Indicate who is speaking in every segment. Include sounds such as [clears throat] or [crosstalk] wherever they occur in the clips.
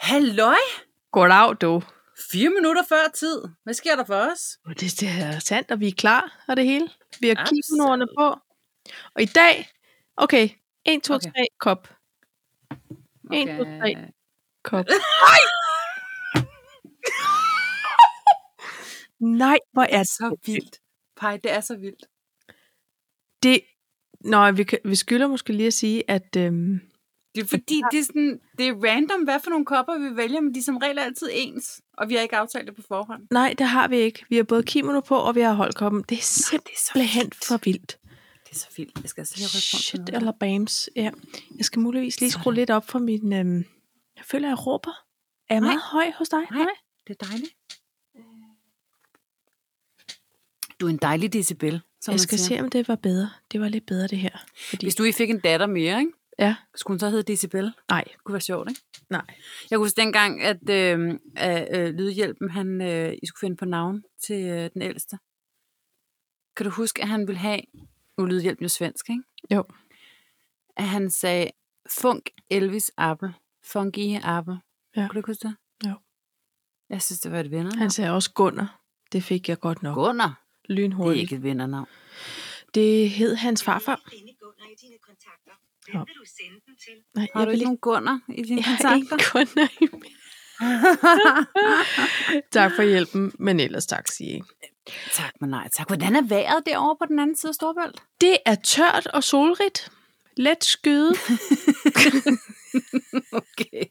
Speaker 1: Halløj!
Speaker 2: Goddag, du.
Speaker 1: Fire minutter før tid. Hvad sker der for os?
Speaker 2: Det, det er sandt, og vi er klar og det hele. Vi har
Speaker 1: Absolut.
Speaker 2: kimonoerne på. Og i dag, okay, 1, 2,
Speaker 1: Okay.
Speaker 2: 3, kop. 1, 2, 3,
Speaker 1: [laughs]
Speaker 2: kop. Nej, hvor er det
Speaker 1: Så vildt. Pej, det er så vildt.
Speaker 2: det... Nå, vi, kan- vi skylder måske lige at sige, at... Øhm,
Speaker 1: Det er fordi, det er, sådan, det er random, hvad for nogle kopper vi vælger, men de er som regel altid ens, og vi har ikke aftalt det på forhånd.
Speaker 2: nej, det har vi ikke. Vi har både kimono på, og vi har holdkoppen. Det er
Speaker 1: det er så
Speaker 2: simpelthen
Speaker 1: vildt.
Speaker 2: for vildt.
Speaker 1: Det er så vildt. Jeg skal altså lige rykke rundt på
Speaker 2: Shit,
Speaker 1: noget.
Speaker 2: eller bams. Ja. Jeg skal muligvis lige
Speaker 1: Sådan.
Speaker 2: skrue lidt op for min... Øhm, jeg føler, jeg råber. Er jeg
Speaker 1: Nej.
Speaker 2: meget høj hos dig?
Speaker 1: Nej. Det er dejligt. Du er en dejlig decibel, som
Speaker 2: jeg
Speaker 1: man
Speaker 2: skal
Speaker 1: siger.
Speaker 2: se, om det var bedre. Det var lidt bedre, det her. Fordi,
Speaker 1: Hvis du ikke fik en datter mere, ikke?
Speaker 2: Ja,
Speaker 1: skulle hun så hedde Decibel? Det
Speaker 2: nej,
Speaker 1: kunne være sjovt, ikke?
Speaker 2: nej.
Speaker 1: Jeg husker dengang, at øh, at, øh, Lydhjælpen, han, øh, I skulle finde på navn til øh, den ældste. Kan du huske, at han ville have, nu er Lydhjælpen jo svensk, ikke?
Speaker 2: Jo.
Speaker 1: At han sagde, funk Elvis Apple, funky Apple.
Speaker 2: Ja.
Speaker 1: Kan du ikke huske det?
Speaker 2: Jo.
Speaker 1: Jeg synes, det var et vindernavn.
Speaker 2: Han sagde også Gunnar. Det fik jeg godt nok.
Speaker 1: Gunnar, det er
Speaker 2: Lynhurtigt.
Speaker 1: ikke
Speaker 2: Det,
Speaker 1: et vindernavn.
Speaker 2: det hed hans farfar.
Speaker 3: Finde Gunnar i dine kontakter.
Speaker 2: Nå.
Speaker 3: Hvem vil du sende den til?
Speaker 2: Nej,
Speaker 1: Har
Speaker 2: jeg
Speaker 1: du
Speaker 2: vil
Speaker 1: ikke nogen Gunnar i dine
Speaker 2: Jeg har
Speaker 1: kontakter?
Speaker 2: ikke Gunnar i min-
Speaker 1: [laughs]
Speaker 2: Tak for hjælpen, men ellers tak, sige ikke.
Speaker 1: tak, men nej tak. Hvordan er vejret derovre på den anden side af Storbælt?
Speaker 2: Det er tørt og solrigt. Let skyde
Speaker 1: Okay.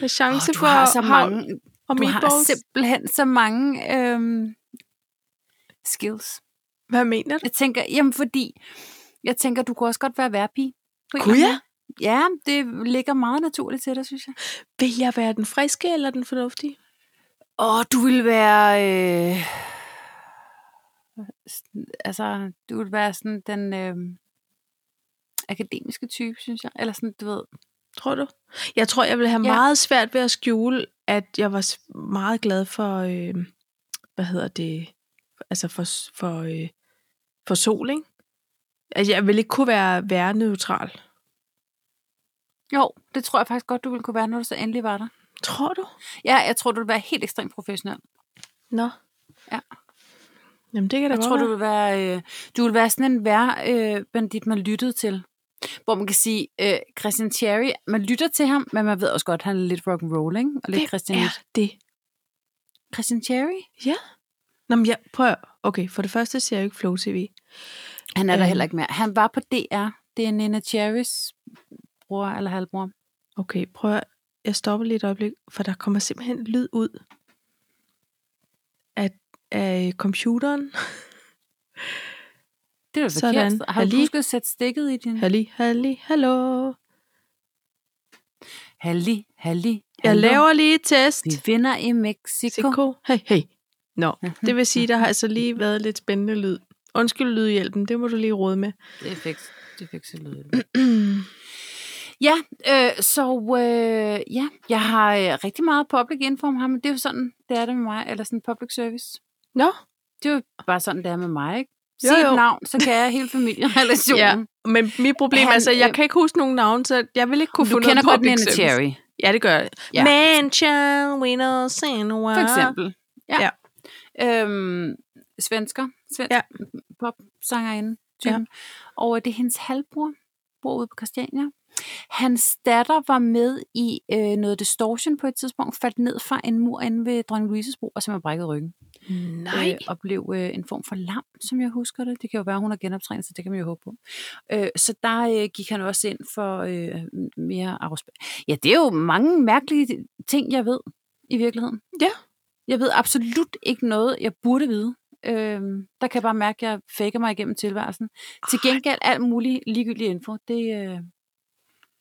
Speaker 2: med
Speaker 1: Oh,
Speaker 2: chance oh,
Speaker 1: du
Speaker 2: for
Speaker 1: har så
Speaker 2: havl
Speaker 1: mange
Speaker 2: og
Speaker 1: Du har
Speaker 2: meatballs.
Speaker 1: simpelthen så mange øhm, skills.
Speaker 2: Hvad mener du?
Speaker 1: Jeg tænker, jamen fordi, jeg tænker, du kunne også godt være værpige. på en
Speaker 2: Kunne
Speaker 1: eller anden måde. Ja, det ligger meget naturligt til dig, synes jeg.
Speaker 2: Vil jeg være den friske eller den fornuftige?
Speaker 1: Og du vil være... Øh, altså, du vil være sådan den øh, akademiske type, synes jeg. Eller sådan, du ved...
Speaker 2: Tror du? Jeg tror, jeg vil have
Speaker 1: Ja.
Speaker 2: ja. meget svært ved at skjule, at jeg var s- meget glad for, øh, hvad hedder det, altså for, s- for, øh, for sol, ikke? Altså, jeg vil ikke kunne være, være neutral.
Speaker 1: Jo, det tror jeg faktisk godt, du ville kunne være, når du så endelig var der.
Speaker 2: Tror du?
Speaker 1: Ja, jeg tror, du vil være helt ekstremt professionel.
Speaker 2: Nå.
Speaker 1: Ja.
Speaker 2: Jamen, det kan da
Speaker 1: Jeg
Speaker 2: godt
Speaker 1: tror, du
Speaker 2: være.
Speaker 1: vil være, øh, du vil være sådan en vær, øh, bandit, man lyttede til. Hvor man kan sige, øh, Christian Cherry, man lytter til ham, men man ved også godt, at han er lidt rock and roll, ikke? Og lidt
Speaker 2: Hvem
Speaker 1: Christian.
Speaker 2: er det?
Speaker 1: Christian Cherry?
Speaker 2: Nå, men jeg prøver. Okay, for det første ser jeg jo ikke Flow TV.
Speaker 1: Han er der
Speaker 2: Øhm.
Speaker 1: heller ikke mere. Han var på DR. Det er Nina Cherrys bror eller halvbror.
Speaker 2: Okay, prøv at, jeg stopper lige et øjeblik, for der kommer simpelthen lyd ud af, af computeren.
Speaker 1: Det er jo
Speaker 2: Sådan.
Speaker 1: forkert. sted. Har du
Speaker 2: Halli.
Speaker 1: husket at sætte stikket i din...
Speaker 2: Halli, halli, hallo.
Speaker 1: Halli, halli,
Speaker 2: Jeg
Speaker 1: hallo.
Speaker 2: laver lige et test.
Speaker 1: Vi vinder i Mexico.
Speaker 2: Siko. Hey, hey. Nå,
Speaker 1: Mhm.
Speaker 2: det vil sige, der har altså lige været lidt spændende lyd. Undskyld lydhjælpen, det må du lige råde
Speaker 1: [clears throat]
Speaker 2: med.
Speaker 1: Det er fik, det fik så lyde. Ja, øh, så øh, ja, jeg har øh, rigtig meget public info om ham, men det er jo sådan, det er det med mig, eller sådan public service.
Speaker 2: Nå,
Speaker 1: Det er jo bare sådan, det er med mig, ikke? Sig
Speaker 2: Jo,
Speaker 1: jo, jo.
Speaker 2: jo.
Speaker 1: et navn, så kan jeg hele familierelationen.
Speaker 2: Ja,
Speaker 1: ja,
Speaker 2: men mit problem er
Speaker 1: Han,
Speaker 2: så, at jeg
Speaker 1: øh,
Speaker 2: kan ikke huske nogen navn, så jeg vil ikke kunne
Speaker 1: du
Speaker 2: få
Speaker 1: kender
Speaker 2: noget
Speaker 1: godt
Speaker 2: public
Speaker 1: Nina
Speaker 2: service.
Speaker 1: Cherry,
Speaker 2: Ja, det gør jeg.
Speaker 1: Ja.
Speaker 2: Ja. Mansion, we know, Senua.
Speaker 1: for eksempel. Ja.
Speaker 2: Ah. Ja.
Speaker 1: ja. Øhm, svensker, svensk ja.
Speaker 2: Ja.
Speaker 1: popsangerinde. Ja. Og øh, det er hendes halvbror, bor ude på Christiania. Hans datter var med i øh, noget distortion på et tidspunkt, faldt ned fra en mur inde ved Dronning Louise's bro, og simpelthen brækkede ryggen.
Speaker 2: Nej.
Speaker 1: øh, og blev øh, en form for lam, som jeg husker det. Det kan jo være, hun har genoptrænet, så det kan man jo håbe på. Øh, så der øh, gik han også ind for øh, mere afspænding. Ja, det er jo mange mærkelige ting, jeg ved i virkeligheden.
Speaker 2: Ja.
Speaker 1: Jeg ved absolut ikke noget, jeg burde vide. Øhm, der kan jeg bare mærke, at jeg faker mig igennem tilværelsen. Til gengæld alt muligt ligegyldig info, det, øh,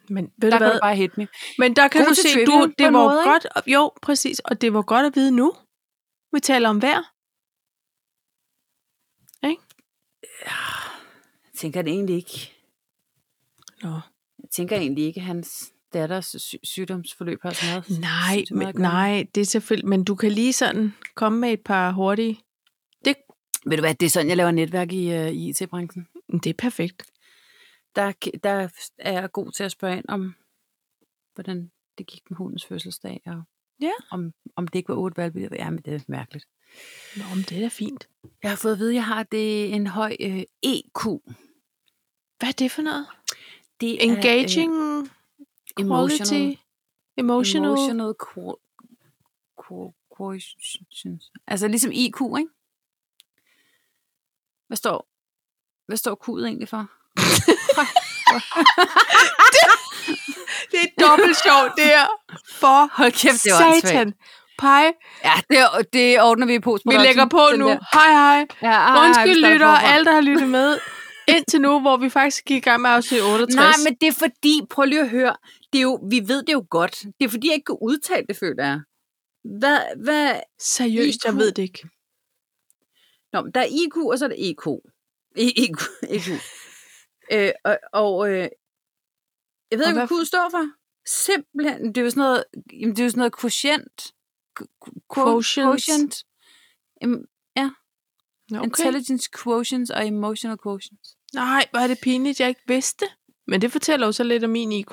Speaker 2: Men
Speaker 1: der kan
Speaker 2: ved du
Speaker 1: du
Speaker 2: hvad?
Speaker 1: bare hit me.
Speaker 2: Men der kan
Speaker 1: God
Speaker 2: du
Speaker 1: til
Speaker 2: se,
Speaker 1: trivia
Speaker 2: du,
Speaker 1: på en
Speaker 2: det var
Speaker 1: måde, ikke?
Speaker 2: godt, jo, præcis, og det var godt at vide nu. Vi taler om vejr.
Speaker 1: Jeg tænker det egentlig ikke.
Speaker 2: Nå.
Speaker 1: Jeg tænker egentlig ikke, at hans datters sy- sygdomsforløb har så [laughs] meget.
Speaker 2: Nej,
Speaker 1: sindssygt meget
Speaker 2: men,
Speaker 1: at gøre med.
Speaker 2: nej, det er selvfølgelig, men du kan lige sådan komme med et par hurtige.
Speaker 1: Ved du hvad, det er sådan, jeg laver netværk i, øh, i IT-branchen.
Speaker 2: Men Det er perfekt.
Speaker 1: Der, der er jeg god til at spørge ind om, hvordan det gik med hundens fødselsdag, og
Speaker 2: Ja.
Speaker 1: om, om det ikke var otte valgbier. Ja, men det er mærkeligt.
Speaker 2: Nå, men det er da fint.
Speaker 1: Jeg har fået at vide, at jeg har det en høj øh, EQ.
Speaker 2: Hvad er det for noget?
Speaker 1: Det
Speaker 2: Engaging,
Speaker 1: er, øh,
Speaker 2: quality, emotional,
Speaker 1: emotional,
Speaker 2: emotional
Speaker 1: emotional qu- qu- quotient. Altså ligesom IQ, ikke? Hvad står, hvad står Q'et egentlig for?
Speaker 2: Det er dobbelt sjovt, det her. For
Speaker 1: Hold kæft, det var
Speaker 2: satan.
Speaker 1: åndssvagt.
Speaker 2: Pej,
Speaker 1: Ja, det, det ordner vi i post.
Speaker 2: vi lægger på nu. Hej, hej.
Speaker 1: Ja, ej,
Speaker 2: Undskyld,
Speaker 1: vi starter
Speaker 2: lytter,
Speaker 1: forfra.
Speaker 2: alle, der har lyttet med. Indtil nu, hvor vi faktisk gik i gang med afsnit 68.
Speaker 1: Nej, men det er fordi, prøv lige at høre, det er jo, vi ved det jo godt. Det er fordi, jeg ikke kan udtale det, føler jeg. Hvad, hvad?
Speaker 2: Seriøst, jeg
Speaker 1: IQ.
Speaker 2: ved det ikke.
Speaker 1: Nå, men der er IQ, og så er der EQ. E- EQ. [laughs] EQ. øh, og, og øh, jeg ved
Speaker 2: Og
Speaker 1: ikke, hvad
Speaker 2: hvad-
Speaker 1: Q står for. Simpelthen, det er jo sådan noget, jamen, det er jo sådan noget quotient. Qu- qu-
Speaker 2: Quotient.
Speaker 1: quotient. Em-
Speaker 2: Nå, Okay.
Speaker 1: Intelligence quotients og emotional quotients.
Speaker 2: Nej, hvor er det pinligt, jeg ikke vidste. Men det fortæller jo så lidt om min IQ.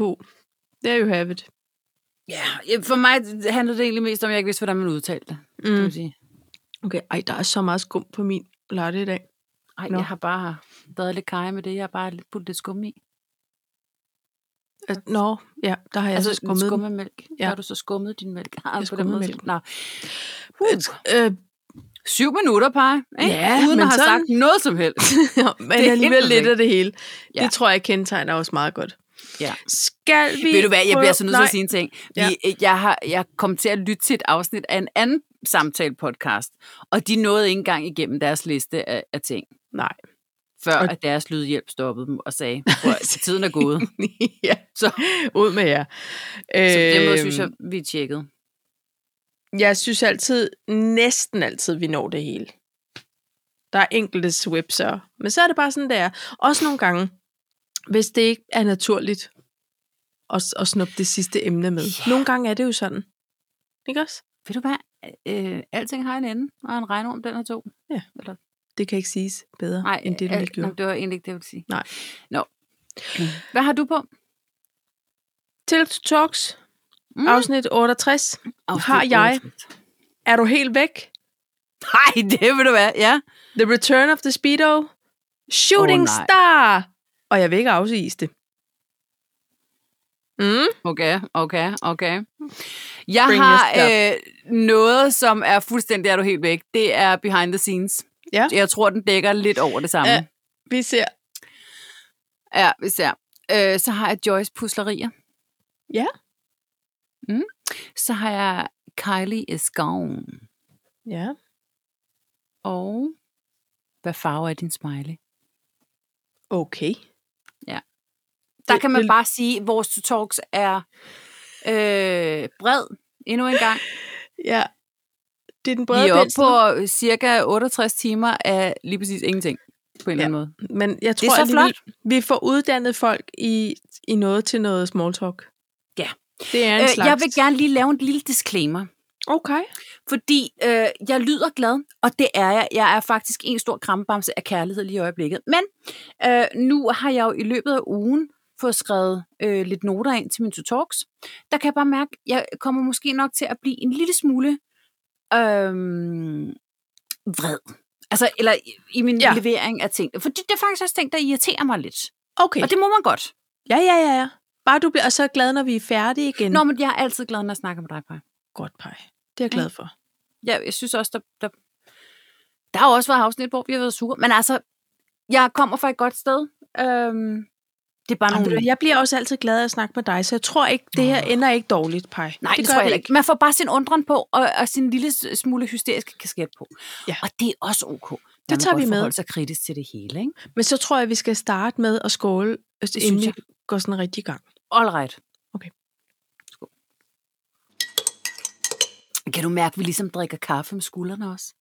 Speaker 2: There you have it.
Speaker 1: Ja, yeah, for mig handlede det egentlig mest om, at jeg ikke vidste, hvordan man udtalte det. Mm. Kan man sige.
Speaker 2: Okay, ej, der er så meget skum på min latte i dag.
Speaker 1: Ej,
Speaker 2: Nå.
Speaker 1: jeg har bare været lidt kaj med det. Jeg har bare lidt puttet lidt skum i.
Speaker 2: Altså, Nå, ja, der har jeg altså, så skummet. Skum.
Speaker 1: skummemælk.
Speaker 2: Ja.
Speaker 1: Ja. Har du så skummet din mælk? Ah, på den
Speaker 2: skummede
Speaker 1: måde.
Speaker 2: mælken.
Speaker 1: Nå.
Speaker 2: Øh, [laughs]
Speaker 1: Syv minutter, par. Ikke?
Speaker 2: Ja,
Speaker 1: Uden
Speaker 2: men
Speaker 1: at have
Speaker 2: sådan-
Speaker 1: sagt noget som helst.
Speaker 2: men
Speaker 1: helt
Speaker 2: alligevel lidt
Speaker 1: perfekt.
Speaker 2: af det hele. Ja.
Speaker 1: Ja.
Speaker 2: Det tror jeg kendetegner os meget godt.
Speaker 1: Ja.
Speaker 2: Skal vi...
Speaker 1: Ved du hvad, jeg bliver
Speaker 2: prøve-
Speaker 1: så nødt til at
Speaker 2: Nej.
Speaker 1: sige en ting. Vi, øh, jeg, har, jeg kom til at lytte til et afsnit af en anden samtale-podcast, og de nåede ikke engang igennem deres liste af, af ting,
Speaker 2: Nej.
Speaker 1: før
Speaker 2: Og-
Speaker 1: og... at deres lydhjælp stoppede dem og sagde, "Prøv
Speaker 2: [laughs]
Speaker 1: at tiden er gået. [laughs]
Speaker 2: ja, så
Speaker 1: Så-
Speaker 2: ud med jer.
Speaker 1: Så på den måde
Speaker 2: Øhm,
Speaker 1: synes jeg, vi er tjekket.
Speaker 2: Jeg synes altid, næsten altid, vi når det hele. Der er enkelte swipser. Men så er det bare sådan, det er. Også nogle gange, hvis det ikke er naturligt at, at snuppe det sidste emne med.
Speaker 1: Ja.
Speaker 2: Nogle gange er det jo sådan. Ikke også?
Speaker 1: Ved du hvad, øh, alting har en ende, og en regnorm, den er to.
Speaker 2: Det kan ikke siges bedre,
Speaker 1: Nej,
Speaker 2: end det, du lige
Speaker 1: alt-
Speaker 2: gjorde.
Speaker 1: nå, det var egentlig ikke det, jeg ville sige.
Speaker 2: Nej.
Speaker 1: Nå. Hvad har du på?
Speaker 2: Til Talks, mm.
Speaker 1: Mm.
Speaker 2: afsnit 68. Har jeg? Er du helt væk?
Speaker 1: Nej, det vil du være, ja.
Speaker 2: The Return of the Speedo. Shooting
Speaker 1: Åh, nej.
Speaker 2: oh, Star. Og jeg vil ikke afsige det. Mm.
Speaker 1: Okay, okay, okay. Jeg Bring
Speaker 2: Bring your
Speaker 1: har øh, noget, som er fuldstændig, er du helt væk. Det er behind the scenes.
Speaker 2: Ja.
Speaker 1: Jeg tror, den dækker lidt over det samme.
Speaker 2: Ja. Vi ser
Speaker 1: Ja, især. Øh, så har jeg Joyce Puslerier.
Speaker 2: Ja.
Speaker 1: Mm. Så har jeg Kylie is gone.
Speaker 2: Ja.
Speaker 1: Og hvad farve er din smiley?
Speaker 2: Okay.
Speaker 1: Der
Speaker 2: Det-
Speaker 1: kan man
Speaker 2: det-
Speaker 1: bare sige, at vores talks er øh, bred endnu en gang.
Speaker 2: Ja. Det er den brede
Speaker 1: Vi er oppe
Speaker 2: pensel,
Speaker 1: på øh, cirka 68 timer af lige præcis ingenting, på en eller
Speaker 2: Ja.
Speaker 1: anden måde.
Speaker 2: men jeg tror,
Speaker 1: Det er så
Speaker 2: alligevel, vi får uddannet folk i, i noget til noget small talk.
Speaker 1: Ja.
Speaker 2: Det er en
Speaker 1: Øh,
Speaker 2: slags...
Speaker 1: jeg vil gerne lige lave en lille disclaimer,
Speaker 2: Okay.
Speaker 1: fordi øh, jeg lyder glad, og det er jeg. Jeg er faktisk en stor krampebamse af kærlighed lige i øjeblikket. Men øh, nu har jeg jo i løbet af ugen fået skrevet øh, lidt noter ind til min to talks. Der kan jeg bare mærke, at jeg kommer måske nok til at blive en lille smule øh, vred. Altså, eller i, i min
Speaker 2: Ja.
Speaker 1: ja. levering af ting. Fordi det er faktisk også ting, der irriterer mig lidt.
Speaker 2: Okay.
Speaker 1: Og det må man godt.
Speaker 2: Ja, ja, ja, ja. Bare du bliver så glad, når vi er færdige igen.
Speaker 1: Nå, men jeg er altid glad, når jeg snakker med dig, Paj.
Speaker 2: Godt, Paj. Det er jeg glad for.
Speaker 1: Ja, jeg synes også, der, der, der har jo også været afsnit, hvor vi har været sure. Men altså, jeg kommer fra et godt sted. Øhm, det er bare
Speaker 2: Jamen,
Speaker 1: nogle...
Speaker 2: ved du, jeg bliver også altid glad af at snakke med dig, så jeg tror ikke, det her ender ikke dårligt, Paj.
Speaker 1: Nej, det, det
Speaker 2: gør
Speaker 1: tror jeg ikke. Man får bare sin undren på, og, og sin lille s- smule hysteriske kasket på.
Speaker 2: Ja.
Speaker 1: Og det er også ok.
Speaker 2: Det tager vi med.
Speaker 1: Man sig kritisk til det hele, ikke?
Speaker 2: Men så tror jeg, vi skal starte med at skåle, øh, inden
Speaker 1: synes
Speaker 2: vi
Speaker 1: jeg.
Speaker 2: går sådan rigtig i gang.
Speaker 1: All right.
Speaker 2: Okay.
Speaker 1: Skål. Kan du mærke, at vi ligesom drikker kaffe med skuldrene også?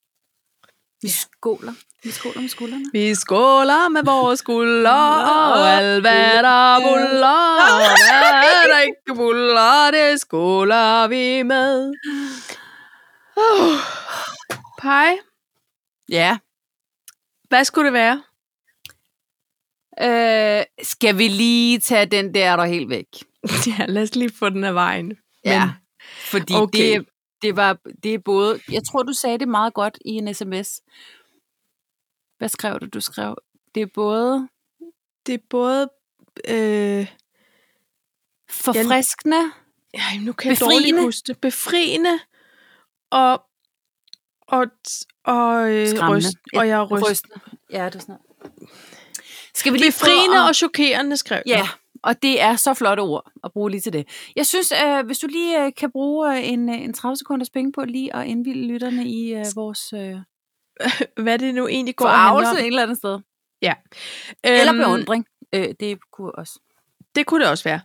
Speaker 1: Vi ja. skåler. Vi skåler med skuldrene.
Speaker 2: Vi skåler med vores skulder, og alt hvad der buller, og hvad der ikke buller, det skåler vi med. Oh. Pej,
Speaker 1: Ja.
Speaker 2: hvad skulle det [laughs] være?
Speaker 1: Øh, skal vi lige tage den der, der er helt væk?
Speaker 2: Ja, lad os lige få den af vejen.
Speaker 1: Ja.
Speaker 2: Men,
Speaker 1: Fordi
Speaker 2: Okay.
Speaker 1: okay. det, det, var, det er både... Jeg tror, du sagde det meget godt i en sms. Hvad skrev du? Du skrev, det er både
Speaker 2: det er både... Øh,
Speaker 1: forfriskende,
Speaker 2: ej, nu kan jeg
Speaker 1: Befriende.
Speaker 2: dårligt huske det. Befriende og... Og, og, øh,
Speaker 1: Skræmmende.
Speaker 2: ryst, og jeg er ryst. ryst.
Speaker 1: rystende. Ja, det er sådan noget. Skal vi lige
Speaker 2: Befriende
Speaker 1: prøve at-
Speaker 2: og chokerende, skrev jeg.
Speaker 1: Ja, og det er så flotte ord at bruge lige til det. Jeg synes, øh, hvis du lige øh, kan bruge øh, en, øh, en 30 sekunders penge på lige at indvilde lytterne i øh, vores øh,
Speaker 2: Hvad det nu egentlig går og handler om.
Speaker 1: forarvelse et eller andet sted.
Speaker 2: Øhm,
Speaker 1: Eller beundring. Øh, det kunne også.
Speaker 2: Det kunne det også være.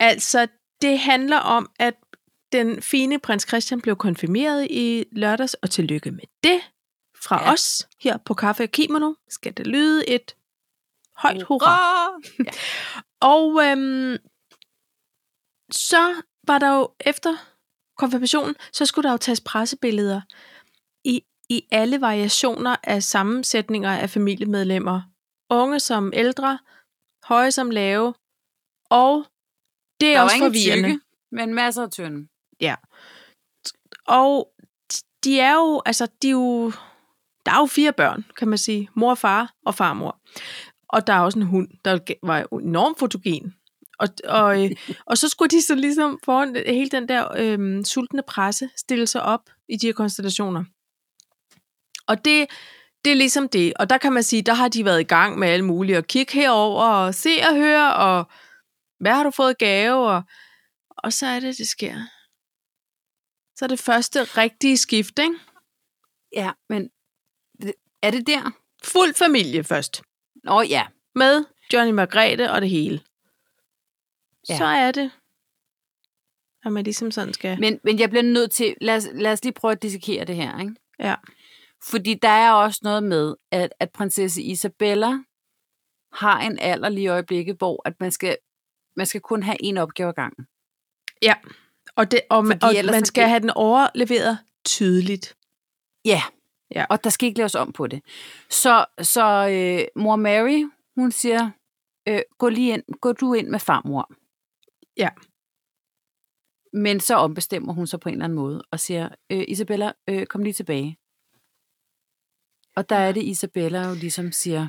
Speaker 2: Altså, det handler om, at den fine prins Christian blev konfirmeret i lørdags, og tillykke med det fra ja.
Speaker 1: Ja.
Speaker 2: os her på Kaffe og Kimono. Skal det lyde et højt hurra. Og øhm, så var der jo efter konfirmationen, så skulle der jo tages pressebilleder i, i alle variationer af sammensætninger af familiemedlemmer. Unge som ældre, høje som lave, og det er
Speaker 1: Der var
Speaker 2: også
Speaker 1: ingen
Speaker 2: forvirrende.
Speaker 1: tykke, men masser af tynde.
Speaker 2: Og de er jo, altså, de er jo, der er jo fire børn, kan man sige. Mor, far og farmor. Og der er også en hund, der var enormt fotogen. Og, og, øh, og så skulle de så ligesom foran hele den der øh, sultne presse stille sig op i de her konstellationer. Og det, det er ligesom det. Og der kan man sige, der har de været i gang med alle mulige. Og kigge herover og se og høre, og hvad har du fået i gave? Og, og så er det, det sker. Så er det første rigtige skift, ikke?
Speaker 1: Ja, men er det der?
Speaker 2: Fuld familie først.
Speaker 1: Nå ja,
Speaker 2: Med Johnny Margrethe og det hele. Ja.
Speaker 1: Ja.
Speaker 2: Så er det, at man ligesom sådan skal...
Speaker 1: men, men jeg bliver nødt til, lad os, lad os lige prøve at dissekere det her, ikke?
Speaker 2: Ja.
Speaker 1: Fordi der er også noget med, at, at prinsesse Isabella har en alder lige i øjeblikket, hvor at man skal, man skal kun have en opgave ad gangen.
Speaker 2: Og, det, og, man,
Speaker 1: Fordi
Speaker 2: og
Speaker 1: ellers
Speaker 2: man
Speaker 1: så
Speaker 2: skal
Speaker 1: bliver-
Speaker 2: have den overleveret tydeligt.
Speaker 1: Ja.
Speaker 2: Ja.
Speaker 1: Og der skal ikke laves om på det. Så, så øh, mor Mary, hun siger, øh, gå, lige ind, gå du ind med farmor.
Speaker 2: Ja.
Speaker 1: Men så ombestemmer hun sig på en eller anden måde og siger, øh, Isabella, øh, kom lige tilbage. Og der er det, Isabella jo ligesom siger,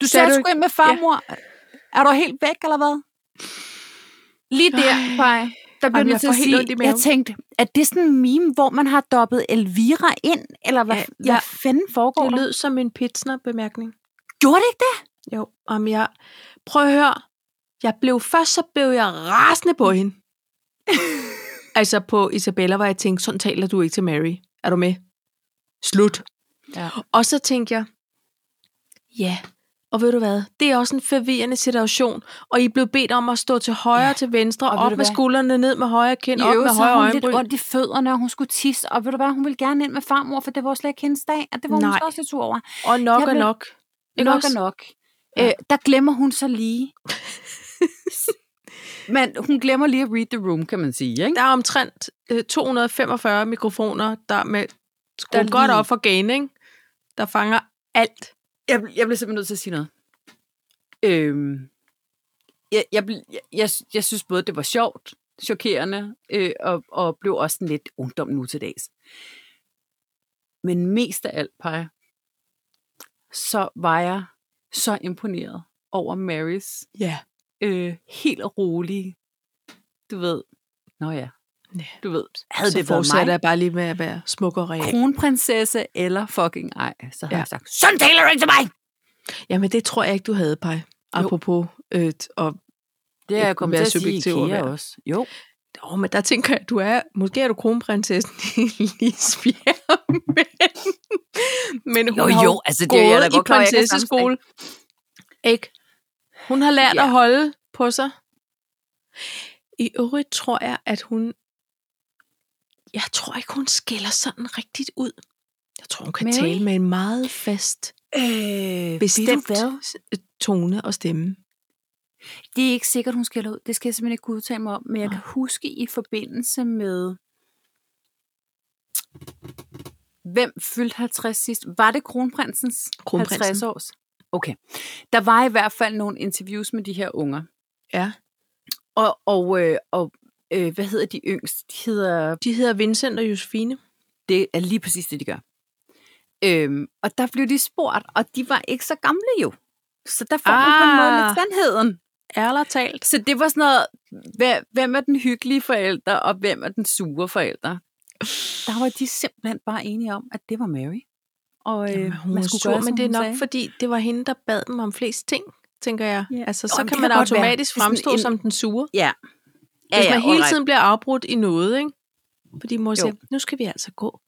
Speaker 1: du
Speaker 2: Sagde
Speaker 1: sagde,
Speaker 2: du
Speaker 1: du skulle ind med farmor. Ja. Er du helt væk, eller hvad? Lige der, Paj, der blev
Speaker 2: Jamen,
Speaker 1: jeg
Speaker 2: jeg
Speaker 1: nødt til
Speaker 2: får
Speaker 1: at
Speaker 2: helt ondt i
Speaker 1: sige, jeg
Speaker 2: maven.
Speaker 1: tænkte, er det sådan en meme, hvor man har dobbet Elvira ind? Eller hvad,
Speaker 2: Ja,
Speaker 1: ja,
Speaker 2: ja.
Speaker 1: hvad fanden foregår
Speaker 2: Det
Speaker 1: der?
Speaker 2: lød som en pitsner-bemærkning.
Speaker 1: Gjorde det ikke det?
Speaker 2: Jo, om jeg... Prøv at høre. Jeg blev først, så blev jeg rasende på
Speaker 1: [laughs]
Speaker 2: hende. altså på Isabella, hvor jeg tænkte, sådan taler du ikke til Mary. Er du med? Slut.
Speaker 1: Ja.
Speaker 2: Og så tænkte jeg, ja, og ved du hvad, det er også en forvirrende situation, og I blev bedt om at stå til højre ja.
Speaker 1: Ja.
Speaker 2: til
Speaker 1: Og
Speaker 2: venstre, og
Speaker 1: ved
Speaker 2: op
Speaker 1: du
Speaker 2: med
Speaker 1: hvad?
Speaker 2: skuldrene, ned med højre kind,
Speaker 1: I
Speaker 2: op med
Speaker 1: øvrigt så
Speaker 2: højre
Speaker 1: har hun lidt
Speaker 2: øjenbryn.
Speaker 1: ondt i fødderne, og hun skulle tisse, og ved du hvad, hun ville gerne ind med farmor, for det var jo slet ikke hendes dag, og det var hun
Speaker 2: Nej.
Speaker 1: så også lidt sur over.
Speaker 2: Og nok
Speaker 1: Jeg
Speaker 2: og
Speaker 1: blev-
Speaker 2: nok. Ikke
Speaker 1: Ikke nok
Speaker 2: også?
Speaker 1: og nok.
Speaker 2: Ja.
Speaker 1: Ja. Øh, der glemmer hun så [laughs] lige. Men hun glemmer lige at read the room, kan man sige, ikke?
Speaker 2: Der er omtrent øh, 245 mikrofoner, der er med
Speaker 1: Der er
Speaker 2: skruet godt
Speaker 1: lige-
Speaker 2: op for gain, ikke? der fanger alt.
Speaker 1: Jeg, bl- jeg bliver simpelthen nødt til at sige noget. Øhm, jeg, jeg, bl- jeg, jeg, jeg synes både, det var sjovt, chokerende, øh, og, og blev også sådan lidt ungdom nu til dags. Men mest af alt, Paj, så var jeg så imponeret over Marys
Speaker 2: Ja.
Speaker 1: øh, helt rolige, du ved, nå ja,
Speaker 2: Ja.
Speaker 1: du ved, havde
Speaker 2: så
Speaker 1: det været mig,
Speaker 2: fortsætter jeg bare lige med at være smuk og real.
Speaker 1: kronprinsesse eller fucking ej, så har
Speaker 2: Ja.
Speaker 1: ja. jeg sagt, sådan taler du ikke til mig!
Speaker 2: Jamen, det tror jeg ikke, du havde, Paj. Apropos, øh, t- og
Speaker 1: Det
Speaker 2: Det
Speaker 1: er
Speaker 2: kunne
Speaker 1: jeg kommet
Speaker 2: være
Speaker 1: til at sige
Speaker 2: subjektivt at
Speaker 1: IKEA
Speaker 2: være.
Speaker 1: også. Jo.
Speaker 2: Åh, oh, men der tænker jeg, at du er, måske er du kronprinsessen i Lisbjerg, [laughs] men, men hun
Speaker 1: Jo,
Speaker 2: har
Speaker 1: jo, altså det er
Speaker 2: gået
Speaker 1: jeg da
Speaker 2: i
Speaker 1: godt klar, over, jeg kan
Speaker 2: prinsesseskole. Ikke? Hun har lært ja.
Speaker 1: Ja.
Speaker 2: at holde på sig. I øvrigt tror jeg, at hun... Jeg tror ikke, hun skiller sådan rigtigt ud. Jeg tror, hun kan Mary?
Speaker 1: Mary?
Speaker 2: tale med en meget fast,
Speaker 1: sammenstænge. Øh, Bestemt.
Speaker 2: bestemt
Speaker 1: Hvad?
Speaker 2: s- tone og stemme.
Speaker 1: Det er ikke sikkert, hun skælder ud. Det skal jeg simpelthen ikke kunne udtale mig om. Men jeg kan huske i forbindelse med... Hvem fyldte 50 sidst? Var det kronprinsens
Speaker 2: Kronprinsen.
Speaker 1: 50 års? Okay. Der var i hvert fald nogle interviews med de her unger.
Speaker 2: Ja.
Speaker 1: Og, og, øh, og øh, hvad hedder de yngste? De hedder
Speaker 2: De hedder Vincent og Josefine.
Speaker 1: Det er lige præcis det, de gør. Øhm, og der blev de spurgt, og de var ikke så gamle jo. Så der får ah. man på en måde lidt
Speaker 2: Ah.
Speaker 1: sandheden.
Speaker 2: Ærler talt.
Speaker 1: Så det var sådan noget, hva- hvem er den hyggelige forælder, og hvem er den sure forælder? Der var de simpelthen bare enige om, at det var Mary. Og øh,
Speaker 2: Jamen, hun man skulle sur, gøre, men
Speaker 1: som
Speaker 2: det er
Speaker 1: hun
Speaker 2: nok,
Speaker 1: sagde.
Speaker 2: fordi det var hende, der bad dem om flest ting, tænker jeg.
Speaker 1: Ja.
Speaker 2: Ja. Altså,
Speaker 1: Nå,
Speaker 2: så
Speaker 1: men
Speaker 2: kan
Speaker 1: det
Speaker 2: man
Speaker 1: kan godt være.
Speaker 2: automatisk
Speaker 1: Det er sådan
Speaker 2: fremstå
Speaker 1: en-
Speaker 2: som den sure.
Speaker 1: Ja.
Speaker 2: Hvis man hele
Speaker 1: alright.
Speaker 2: tiden bliver afbrudt i noget, ikke? Fordi mor siger,
Speaker 1: Jo.
Speaker 2: nu skal vi altså gå.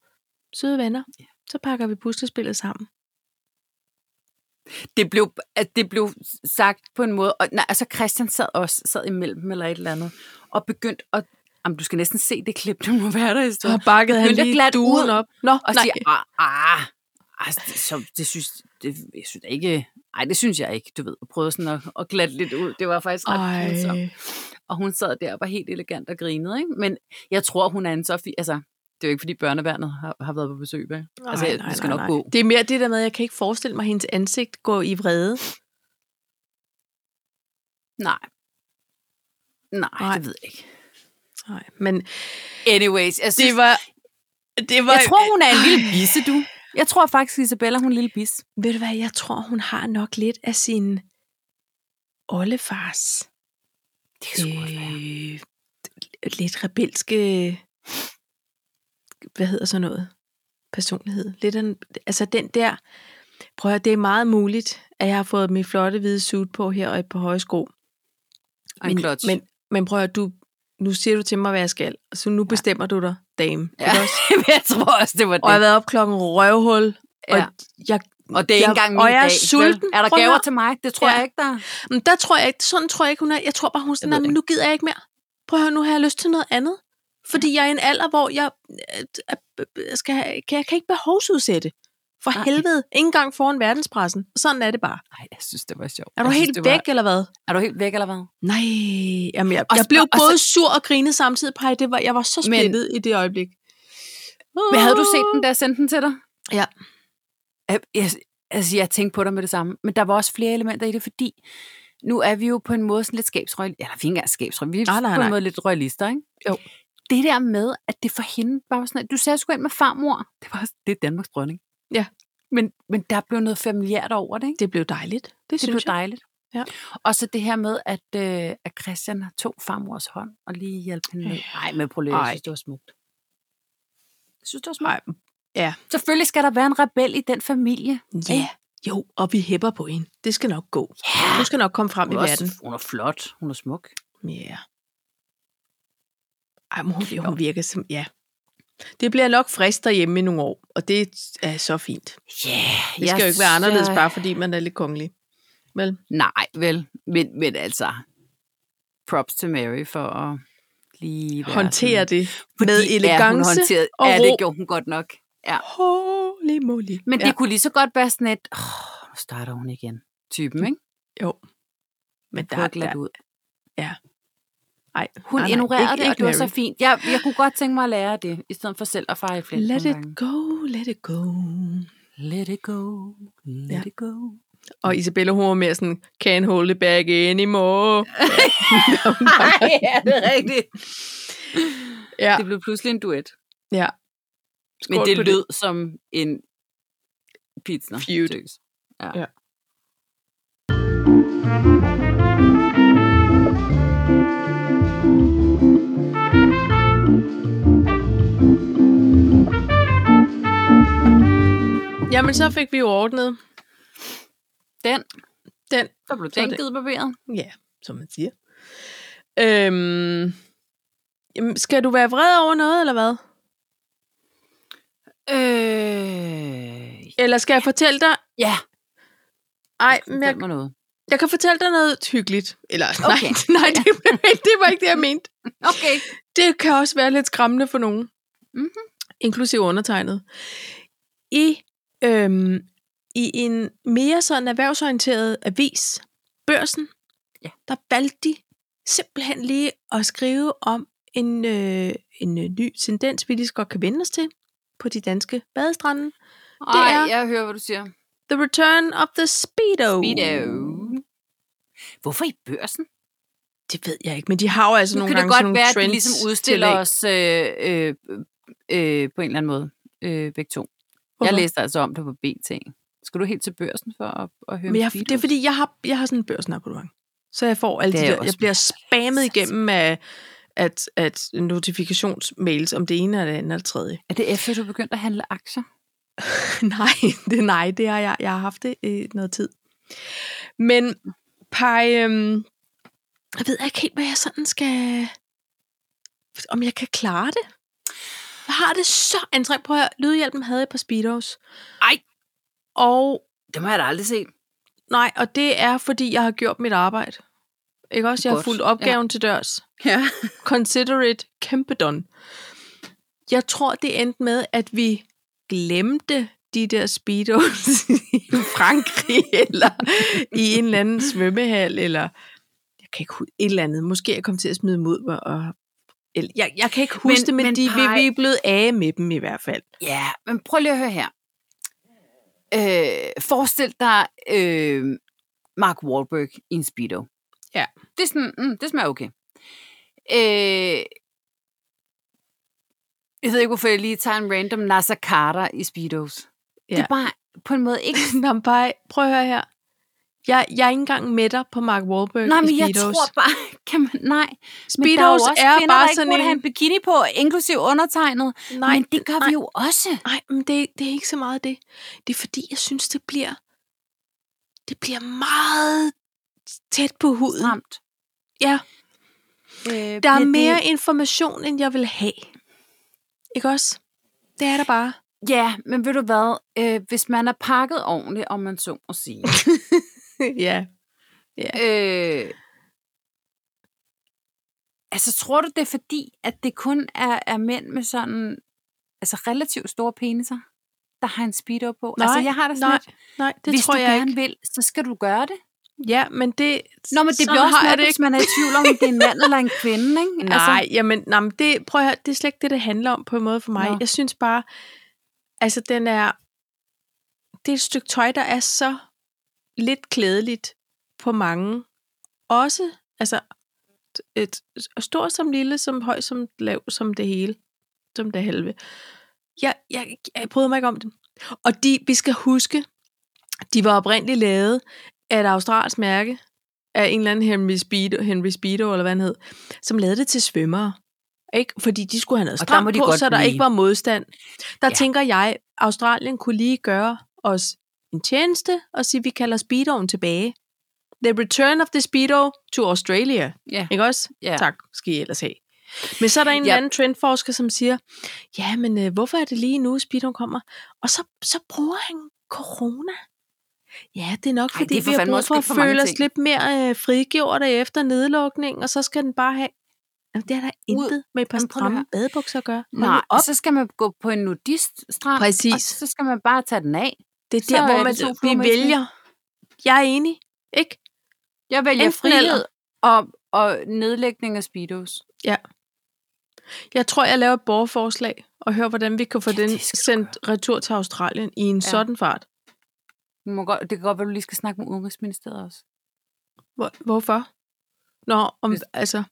Speaker 2: Søde venner, så pakker vi puslespillet sammen.
Speaker 1: det blev, at det blev sagt på en måde, og nej, altså Christian sad også sad imellem dem eller et eller andet, og begyndte at, jamen, du skal næsten se det klip, du må være der i stedet.
Speaker 2: bakkede
Speaker 1: Men jeg glat ud
Speaker 2: op. Nå,
Speaker 1: Og
Speaker 2: nej.
Speaker 1: siger, ah, ah, altså, det, så, det synes, det, jeg synes da ikke, nej, det synes jeg ikke, du ved, og prøvede sådan at, at glatte lidt ud, det var faktisk ret pinsomt.
Speaker 2: Ej. altså,
Speaker 1: Og hun sad der og var helt elegant og grinede, ikke? men jeg tror, hun er en Sofie, altså, det er jo ikke, fordi børneværnet har, har været på besøg, vel? Altså,
Speaker 2: Nej,
Speaker 1: det
Speaker 2: nej,
Speaker 1: skal
Speaker 2: nej,
Speaker 1: nok
Speaker 2: nej.
Speaker 1: gå.
Speaker 2: Det er mere det der med, at jeg kan ikke forestille mig hendes ansigt gå i vrede.
Speaker 1: Nej. Nej,
Speaker 2: Nej.
Speaker 1: nej, det ved jeg ikke.
Speaker 2: Nej, men
Speaker 1: Anyways, jeg synes,
Speaker 2: det var... Det var
Speaker 1: Jeg tror, hun er en lille bisse, du. Jeg tror faktisk, Isabella, hun er en lille bis.
Speaker 2: Ved du hvad, jeg tror, hun har nok lidt af sin oldefars
Speaker 1: Det
Speaker 2: øh, lidt rebelske, hvad hedder så noget, personlighed. Lidt af, en- altså den der, prøv at høre, det er meget muligt, at jeg har fået min flotte hvide suit på her og et par høje sko.
Speaker 1: Og en
Speaker 2: men,
Speaker 1: klods.
Speaker 2: men, men prøv at høre, du, nu siger du til mig, hvad jeg skal, så nu bestemmer du dig, dame.
Speaker 1: ja, [laughs] [laughs] jeg tror også, det var det.
Speaker 2: Og jeg har været op klokken røvhul, og
Speaker 1: Ja.
Speaker 2: jeg
Speaker 1: og det er ikke
Speaker 2: jeg-
Speaker 1: engang min
Speaker 2: og jeg er
Speaker 1: dag, vel?
Speaker 2: sulten.
Speaker 1: Er der
Speaker 2: Prøv at
Speaker 1: gaver
Speaker 2: høre.
Speaker 1: til mig? Det tror
Speaker 2: Ja.
Speaker 1: jeg ikke, der er.
Speaker 2: Men der tror jeg ikke, sådan tror jeg ikke, hun er. Jeg tror bare, hun er sådan,
Speaker 1: Jeg ved
Speaker 2: "Nej,
Speaker 1: det
Speaker 2: men nu gider jeg ikke mere. Prøv at høre, nu har jeg lyst til noget andet. Fordi jeg er i en alder, hvor jeg, øh, øh, øh, skal, have- kan, jeg kan ikke behovsudsætte. For
Speaker 1: Nej.
Speaker 2: helvede, ikke engang foran verdenspressen. Sådan er det bare.
Speaker 1: Nej, jeg synes, det var sjovt.
Speaker 2: Er du
Speaker 1: jeg
Speaker 2: helt
Speaker 1: synes, det
Speaker 2: væk, eller hvad?
Speaker 1: Var... Er du helt væk, eller hvad?
Speaker 2: Nej, jamen jeg,
Speaker 1: Og
Speaker 2: jeg
Speaker 1: så-
Speaker 2: blev
Speaker 1: og så-
Speaker 2: både sur og grinet samtidig. Pej, det var, jeg var så
Speaker 1: Men-
Speaker 2: splittet i det øjeblik.
Speaker 1: Men havde du set den, da jeg sendte den til dig?
Speaker 2: Ja.
Speaker 1: Jeg, jeg, altså, jeg tænkte på dig med det samme. Men der var også flere elementer i det, fordi nu er vi jo på en måde sådan lidt skabsrøg. Ja, der er ikke engang skabsrøg. Vi er
Speaker 2: Nej, nej,
Speaker 1: på en
Speaker 2: nej.
Speaker 1: måde lidt røglister, ikke?
Speaker 2: Jo.
Speaker 1: Det der med, at det for hende bare var sådan, at du sagde, at jeg skulle ind med farmor. Det var også- det er Danmarks dronning.
Speaker 2: Ja.
Speaker 1: Men, men der blev noget familiært over det, ikke?
Speaker 2: Det blev dejligt. Det, det
Speaker 1: Det
Speaker 2: synes
Speaker 1: blev
Speaker 2: jeg.
Speaker 1: dejligt.
Speaker 2: Ja.
Speaker 1: Og så det her med, at, øh, at Christian tog farmors hånd og lige hjalp hende med. Nej, med prøv lige, jeg
Speaker 2: Ej.
Speaker 1: synes, det var smukt. Jeg synes, det var smukt.
Speaker 2: Nej,
Speaker 1: Selvfølgelig skal der være en rebel i den familie.
Speaker 2: ja. Jo, og vi hæpper på hende. Det skal nok gå.
Speaker 1: Ja.
Speaker 2: Du skal nok komme frem
Speaker 1: Hun
Speaker 2: i
Speaker 1: er,
Speaker 2: verden.
Speaker 1: også, hun er flot. Hun er smuk.
Speaker 2: Ja. Yeah. Ej, men hun, hun virker som, ja. Det bliver nok frisk derhjemme i nogle år, og det er så fint.
Speaker 1: Ja, yeah,
Speaker 2: Det skal jo ikke være anderledes, bare fordi man er lidt kongelig. Vel?
Speaker 1: Nej, vel. Men, men altså, props til Mary for at lige være
Speaker 2: Håndtere
Speaker 1: sådan-
Speaker 2: det
Speaker 1: Fordi,
Speaker 2: med
Speaker 1: ja, hun
Speaker 2: elegance
Speaker 1: håndterede,
Speaker 2: og
Speaker 1: ja,
Speaker 2: ro.
Speaker 1: det gjorde hun godt nok. Ja.
Speaker 2: Holy moly.
Speaker 1: Men
Speaker 2: ja.
Speaker 1: det kunne lige så godt være sådan et, oh, nu starter hun igen, typen, ikke?
Speaker 2: Jo. Men der,
Speaker 1: Prøv
Speaker 2: der,
Speaker 1: at glatte ud.
Speaker 2: ej,
Speaker 1: Hun nej,
Speaker 2: nej, nej,
Speaker 1: ignorerede
Speaker 2: ikke-
Speaker 1: det, og
Speaker 2: ikke
Speaker 1: det var så
Speaker 2: Mary.
Speaker 1: fint. Jeg, jeg kunne godt tænke mig at lære det, i stedet for selv at fare i flæk.
Speaker 2: Let
Speaker 1: nogle
Speaker 2: it
Speaker 1: gange.
Speaker 2: go, let it go.
Speaker 1: Let it go, let
Speaker 2: Ja.
Speaker 1: it go.
Speaker 2: Og Isabella, hun var mere sådan, can't hold it back
Speaker 1: [laughs]
Speaker 2: anymore.
Speaker 1: Nej, [laughs] ja, det er rigtigt.
Speaker 2: ja,
Speaker 1: Det blev pludselig en duet.
Speaker 2: ja.
Speaker 1: Men
Speaker 2: Skål
Speaker 1: det
Speaker 2: på
Speaker 1: lød som en pizza.
Speaker 2: Feud.
Speaker 1: Ja.
Speaker 2: Ja.
Speaker 1: ja.
Speaker 2: Jamen, så fik vi jo ordnet
Speaker 1: Den,
Speaker 2: den
Speaker 1: der blev
Speaker 2: Så er det-
Speaker 1: tænket barberet.
Speaker 2: Ja, som man siger. Øhm, jamen, skal du være vred over noget, eller hvad?
Speaker 1: Øh,
Speaker 2: Eller skal jeg fortælle dig...
Speaker 1: ja,
Speaker 2: Ej, men jeg,
Speaker 1: fortæl mig noget.
Speaker 2: jeg kan fortælle dig noget hyggeligt. Eller okay.
Speaker 1: Okay.
Speaker 2: [laughs] nej, nej det, var ikke, det var ikke det, jeg mente.
Speaker 1: Okay.
Speaker 2: Det kan også være lidt skræmmende for nogen.
Speaker 1: Mhm.
Speaker 2: Inklusiv undertegnet. I, øhm, I en mere sådan erhvervsorienteret avis, Børsen,
Speaker 1: Ja.
Speaker 2: der valgte de simpelthen lige at skrive om en, øh, en øh, ny tendens, vi lige så godt kan vende os til på de danske badestrande.
Speaker 1: Ej,
Speaker 2: er-
Speaker 1: jeg hører, hvad du siger.
Speaker 2: The
Speaker 1: Oh.
Speaker 2: Return of the Speedo.
Speaker 1: Speedo. Hvorfor i børsen?
Speaker 2: Det ved jeg ikke, men de har jo altså
Speaker 1: Nu
Speaker 2: nogle
Speaker 1: kan
Speaker 2: gange
Speaker 1: det godt
Speaker 2: sådan
Speaker 1: være,
Speaker 2: nogle
Speaker 1: at de
Speaker 2: trends
Speaker 1: ligesom udstiller
Speaker 2: tillæg.
Speaker 1: os øh, øh, øh, på en eller anden måde, øh, begge to. Jeg
Speaker 2: Hvorfor?
Speaker 1: læste altså om det på BT. Skal du helt til børsen for at, at høre
Speaker 2: Men
Speaker 1: om
Speaker 2: jeg,
Speaker 1: Beatles?
Speaker 2: det er fordi, jeg har, jeg har sådan en børsnabonnement. Så jeg får alle
Speaker 1: Det
Speaker 2: de
Speaker 1: er jeg
Speaker 2: der,
Speaker 1: også
Speaker 2: jeg bliver spammet
Speaker 1: sindssygt.
Speaker 2: igennem af at, at notifikationsmails om det ene eller det andet eller tredje.
Speaker 1: Er det efter, du begyndte at handle aktier?
Speaker 2: [laughs] nej, det, nej, det har jeg, jeg har haft det i noget tid. Men Paj, øhm, jeg ved ikke helt, hvad jeg sådan skal... Om jeg kan klare det. Jeg har det så anstrengt. Prøv at høre, Lydhjælpen havde et par speedos.
Speaker 1: Ej.
Speaker 2: Og
Speaker 1: Det må jeg da aldrig set.
Speaker 2: nej, og det er, fordi jeg har gjort mit arbejde. Ikke også? Jeg har
Speaker 1: Godt,
Speaker 2: fulgt opgaven ja. til dørs.
Speaker 1: Ja.
Speaker 2: Consider it kæmpe done. Jeg tror, det endte med, at vi glemte de der speedos [laughs] i Frankrig, [laughs] eller i en eller anden svømmehal, eller jeg kan ikke huske et eller andet. Måske jeg kom til at smide dem ud, og eller, jeg, jeg kan ikke huske
Speaker 1: Men-
Speaker 2: men, det,
Speaker 1: men
Speaker 2: men, men de,
Speaker 1: Paj-
Speaker 2: vi, vi er blevet af med dem i hvert fald.
Speaker 1: Ja, men prøv lige at høre her. Øh, forestil dig øh, Mark Wahlberg i en speedo.
Speaker 2: Ja.
Speaker 1: Det, er sådan, mm, det smager okay. Øh, jeg ved ikke, hvorfor jeg lige tager en random Nasser Carter i speedos. Ja. Det
Speaker 2: Ja.
Speaker 1: er bare på en måde ikke...
Speaker 2: [laughs]
Speaker 1: [laughs]
Speaker 2: Nå, men Paj, prøv at høre her. Jeg, jeg er ikke engang med dig på Mark Wahlberg
Speaker 1: Nej,
Speaker 2: i
Speaker 1: men jeg
Speaker 2: speedos.
Speaker 1: tror bare... [laughs] Kan man, nej, men der er jo
Speaker 2: speedos
Speaker 1: også
Speaker 2: er,
Speaker 1: kvinder,
Speaker 2: bare
Speaker 1: der ikke
Speaker 2: sådan
Speaker 1: burde
Speaker 2: en...
Speaker 1: have en bikini på, inklusiv undertegnet. Nej, men det gør nej. vi jo også.
Speaker 2: Nej, men det, det er ikke så meget det. Det er fordi, jeg synes, det bliver, det bliver meget tæt på huden.
Speaker 1: Stramt.
Speaker 2: Ja,
Speaker 1: Øh,
Speaker 2: der er
Speaker 1: men
Speaker 2: mere
Speaker 1: Det,
Speaker 2: information, end jeg vil have. Ikke også? Det er der
Speaker 1: [laughs]
Speaker 2: bare.
Speaker 1: ja, men ved du hvad? Øh, hvis man er pakket ordentligt, om man så må [laughs] sige,
Speaker 2: ja.
Speaker 1: Øh, altså, tror du, det er fordi, at det kun er, er mænd med sådan altså relativt store peniser, der har en speedo på?
Speaker 2: Nej,
Speaker 1: altså, jeg har det sådan
Speaker 2: nej,
Speaker 1: lidt,
Speaker 2: nej, det
Speaker 1: hvis
Speaker 2: tror
Speaker 1: du
Speaker 2: jeg
Speaker 1: gerne
Speaker 2: ikke.
Speaker 1: vil, så skal du gøre det.
Speaker 2: Ja, men det...
Speaker 1: Nå, men det
Speaker 2: sådan
Speaker 1: bliver også
Speaker 2: har jeg
Speaker 1: noget,
Speaker 2: det
Speaker 1: hvis man er i tvivl om, om det er en mand eller en kvinde, ikke?
Speaker 2: Nej, altså, jamen, nej, men det, prøv at høre, det er slet ikke det, det handler om på en måde for mig.
Speaker 1: Nå.
Speaker 2: Nå. Jeg synes bare, altså den er, det er et stykke tøj, der er så lidt klædeligt på mange. Også, altså, et, et, stor som lille, som høj som lav, som det hele, som det halve. Jeg, jeg, jeg bryder mig ikke om det. Og de, vi skal huske, de var oprindeligt lavet af et australsk mærke, af en eller anden Henry Speedo, Henry Speedo eller hvad han hed, som lavede det til svømmere. Ikke? Fordi de skulle have noget
Speaker 1: Og der
Speaker 2: stramt
Speaker 1: må de
Speaker 2: på,
Speaker 1: godt
Speaker 2: så der
Speaker 1: blive.
Speaker 2: ikke var modstand. Der
Speaker 1: Ja.
Speaker 2: ja. tænker jeg, Australien kunne lige gøre os en tjeneste og sige, vi kalder Speedoen tilbage. The return of the Speedo to Australia.
Speaker 1: Ja.
Speaker 2: Ikke også?
Speaker 1: Ja.
Speaker 2: Tak skal I ellers have. Men så er der en
Speaker 1: Ja.
Speaker 2: eller anden trendforsker, som siger, ja, men øh, hvorfor er det lige nu, Speedoen kommer? Og så, så bruger han corona. Ja, det er nok,
Speaker 1: Ej, det
Speaker 2: fordi Ej,
Speaker 1: er for
Speaker 2: vi har
Speaker 1: fandme
Speaker 2: brug
Speaker 1: også
Speaker 2: for at
Speaker 1: lidt for mange
Speaker 2: føle os
Speaker 1: ting.
Speaker 2: lidt mere øh, frigjorte efter nedlukningen, og så skal den bare have... Jamen, det er der intet med et par
Speaker 1: Jamen, prøv lige at
Speaker 2: stramme
Speaker 1: høre.
Speaker 2: badebukser at gøre. Hold nu
Speaker 1: Nej, altså, så
Speaker 2: op.
Speaker 1: skal man gå på en nudiststrand,
Speaker 2: Præcis.
Speaker 1: og så skal man bare tage den af.
Speaker 2: Det er
Speaker 1: så
Speaker 2: der,
Speaker 1: er
Speaker 2: hvor
Speaker 1: det
Speaker 2: man,
Speaker 1: to fluer med
Speaker 2: vi
Speaker 1: et smæk.
Speaker 2: vælger. Jeg er enig. Ikke?
Speaker 1: Jeg vælger
Speaker 2: Enten eller.
Speaker 1: frihed og, og nedlægning af speedos.
Speaker 2: Jeg tror, jeg laver et borgerforslag og hører, hvordan vi kan få
Speaker 1: Ja,
Speaker 2: ja, den
Speaker 1: det skal du
Speaker 2: sendt retur til Australien i en ja. sådan fart.
Speaker 1: Du må godt, det kan godt være, du lige skal snakke med Udenrigsministeriet også.
Speaker 2: Hvor, hvorfor? Nå, om,
Speaker 1: Hvis-
Speaker 2: altså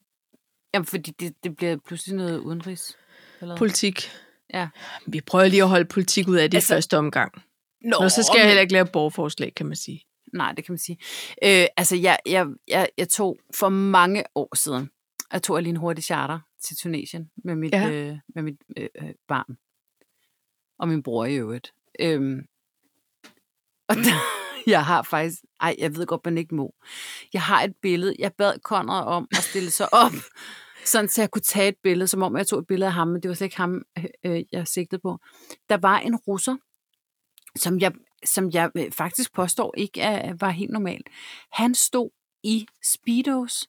Speaker 1: Jamen, fordi det, det bliver pludselig noget udenrigs. Eller?
Speaker 2: politik.
Speaker 1: Ja.
Speaker 2: Vi prøver lige at holde politik ud af det altså,
Speaker 1: Altså-
Speaker 2: i første omgang.
Speaker 1: Nå,
Speaker 2: Nå, så skal jeg heller ikke lave borgerforslag, kan man sige.
Speaker 1: Nej, det kan man sige. Øh, altså, jeg, jeg, jeg, jeg tog for mange år siden, jeg tog lige en hurtig charter til Tunesien med mit, ja.
Speaker 2: Ja.
Speaker 1: øh, med mit øh, øh, barn. Og min bror i øvrigt. Øhm, og der, [laughs] jeg har faktisk... Ej, jeg ved godt, man ikke må. Jeg har et billede. Jeg bad Conrad om at stille sig op, [laughs] sådan så jeg kunne tage et billede, som om jeg tog et billede af ham, men det var slet ikke ham, øh, øh, jeg sigtede på. Der var en russer, som jeg, som jeg øh, faktisk påstår ikke er, var helt normal. Han stod i Speedos,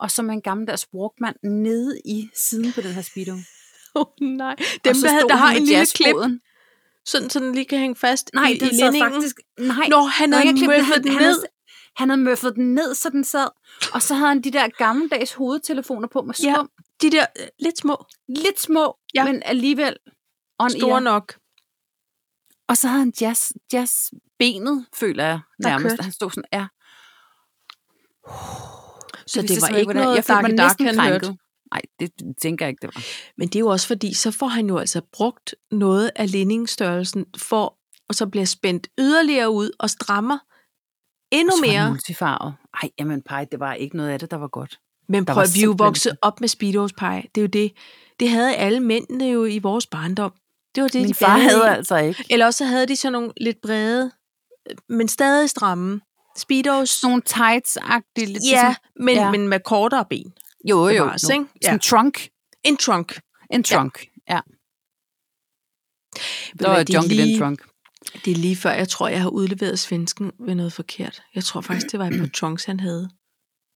Speaker 1: og som en gammeldags walkman nede i siden på den her Speedo.
Speaker 2: Åh oh, nej.
Speaker 1: og
Speaker 2: Dem,
Speaker 1: så
Speaker 2: der, havde,
Speaker 1: stod
Speaker 2: der
Speaker 1: han
Speaker 2: har
Speaker 1: med
Speaker 2: en lille klip,
Speaker 1: jazzfoden.
Speaker 2: sådan, så den lige kan hænge fast
Speaker 1: Nej,
Speaker 2: i, i
Speaker 1: den sad
Speaker 2: lændingen.
Speaker 1: faktisk... Nej,
Speaker 2: Nå, han
Speaker 1: Nå,
Speaker 2: havde
Speaker 1: jeg klippede
Speaker 2: møffet den
Speaker 1: han
Speaker 2: ned.
Speaker 1: Havde, han havde møffet den ned, så den sad. Og så havde han de der gammeldags hovedtelefoner på med
Speaker 2: Ja.
Speaker 1: skum. Ja.
Speaker 2: De der øh, lidt små,
Speaker 1: Lidt små, ja.
Speaker 2: Ja.
Speaker 1: men alligevel on
Speaker 2: store
Speaker 1: ear.
Speaker 2: nok.
Speaker 1: Og så havde han jazz, jazzbenet, føler jeg
Speaker 2: Der
Speaker 1: nærmest.
Speaker 2: kørte.
Speaker 1: Han stod sådan, ja.
Speaker 2: Så det,
Speaker 1: vidste jeg
Speaker 2: var
Speaker 1: simpelthen
Speaker 2: ikke
Speaker 1: hvordan-
Speaker 2: noget
Speaker 1: Jeg følte mig næsten
Speaker 2: Dark
Speaker 1: krænket. Nej, det tænker jeg ikke, det var.
Speaker 2: Men det er jo også fordi, så får han jo altså brugt noget af lindingsstørrelsen, for, og så bliver spændt yderligere ud og strammer endnu
Speaker 1: Så var den
Speaker 2: mere.
Speaker 1: multifarvet. Ej, jamen pej, det var ikke noget af det, der var godt.
Speaker 2: Men
Speaker 1: Der
Speaker 2: prøv,
Speaker 1: var
Speaker 2: vi er jo
Speaker 1: simpelthen-
Speaker 2: vokset op med Speedos pej. Det er jo det. Det havde alle mændene jo i vores barndom. Det var det,
Speaker 1: Det, Min
Speaker 2: de
Speaker 1: far
Speaker 2: badede
Speaker 1: havde
Speaker 2: i.
Speaker 1: altså ikke.
Speaker 2: Eller også så havde de sådan nogle lidt brede, øh, men stadig stramme. Speedos.
Speaker 1: Sådan nogle tights-agtige, lidt
Speaker 2: Ja,
Speaker 1: ligesom-
Speaker 2: men, ja.
Speaker 1: ja.
Speaker 2: men med kortere ben.
Speaker 1: jo, jo, jo.
Speaker 2: bevares, ikke?
Speaker 1: Sådan en trunk.
Speaker 2: En trunk.
Speaker 1: En trunk, ja. Der var
Speaker 2: hvad,
Speaker 1: et
Speaker 2: de
Speaker 1: junk i den
Speaker 2: lige-
Speaker 1: trunk.
Speaker 2: Det er lige før, jeg tror, jeg har udleveret svensken ved noget forkert. Jeg tror faktisk, det var et par trunks, han havde.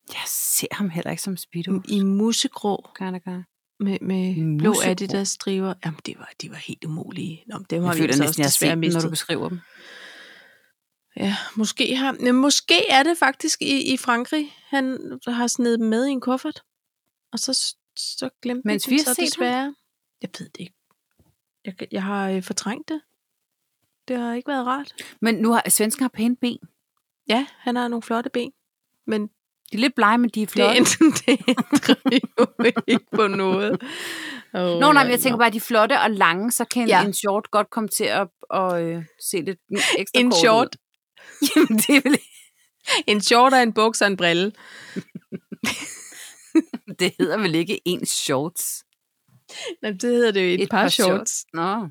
Speaker 1: Jeg ser ham heller ikke som speedo.
Speaker 2: I musegrå
Speaker 1: Kan Mm. jeg da
Speaker 2: med, med
Speaker 1: I
Speaker 2: blå
Speaker 1: musegrå?
Speaker 2: Adidas striber. Jamen, det var, de var helt umulige. Nå, men dem har
Speaker 1: Jeg
Speaker 2: vi
Speaker 1: føler
Speaker 2: altså
Speaker 1: næsten,
Speaker 2: også
Speaker 1: jeg har set
Speaker 2: desværre
Speaker 1: dem, når
Speaker 2: mistet.
Speaker 1: du beskriver dem.
Speaker 2: Ja, måske, har, men måske er det faktisk i, i Frankrig, han har snedet dem med i en kuffert. Og så, så glemte
Speaker 1: Mens
Speaker 2: den
Speaker 1: vi har
Speaker 2: så
Speaker 1: set ham?
Speaker 2: desværre. Ham? Jeg ved det ikke. Jeg, kan- jeg har øh, fortrængt det. Det har ikke været rart.
Speaker 1: Men nu har svensker har pæne ben.
Speaker 2: Ja, han har nogle flotte ben. Men
Speaker 1: De er lidt blege, men de er
Speaker 2: Det er
Speaker 1: flotte.
Speaker 2: enten [laughs] det ændrer jo ikke på noget. Oh,
Speaker 1: Nå, nej, men jeg tænker bare, at de er flotte og lange, så kan
Speaker 2: Ja.
Speaker 1: ja. en short godt komme til at, at øh, se lidt ekstra
Speaker 2: En
Speaker 1: kort
Speaker 2: short.
Speaker 1: Ud. [laughs] Jamen, det er vel
Speaker 2: En short og en buks og en brille.
Speaker 1: Det hedder vel ikke en shorts?
Speaker 2: Nej, det hedder det jo et, et par, par shorts.
Speaker 1: Nå.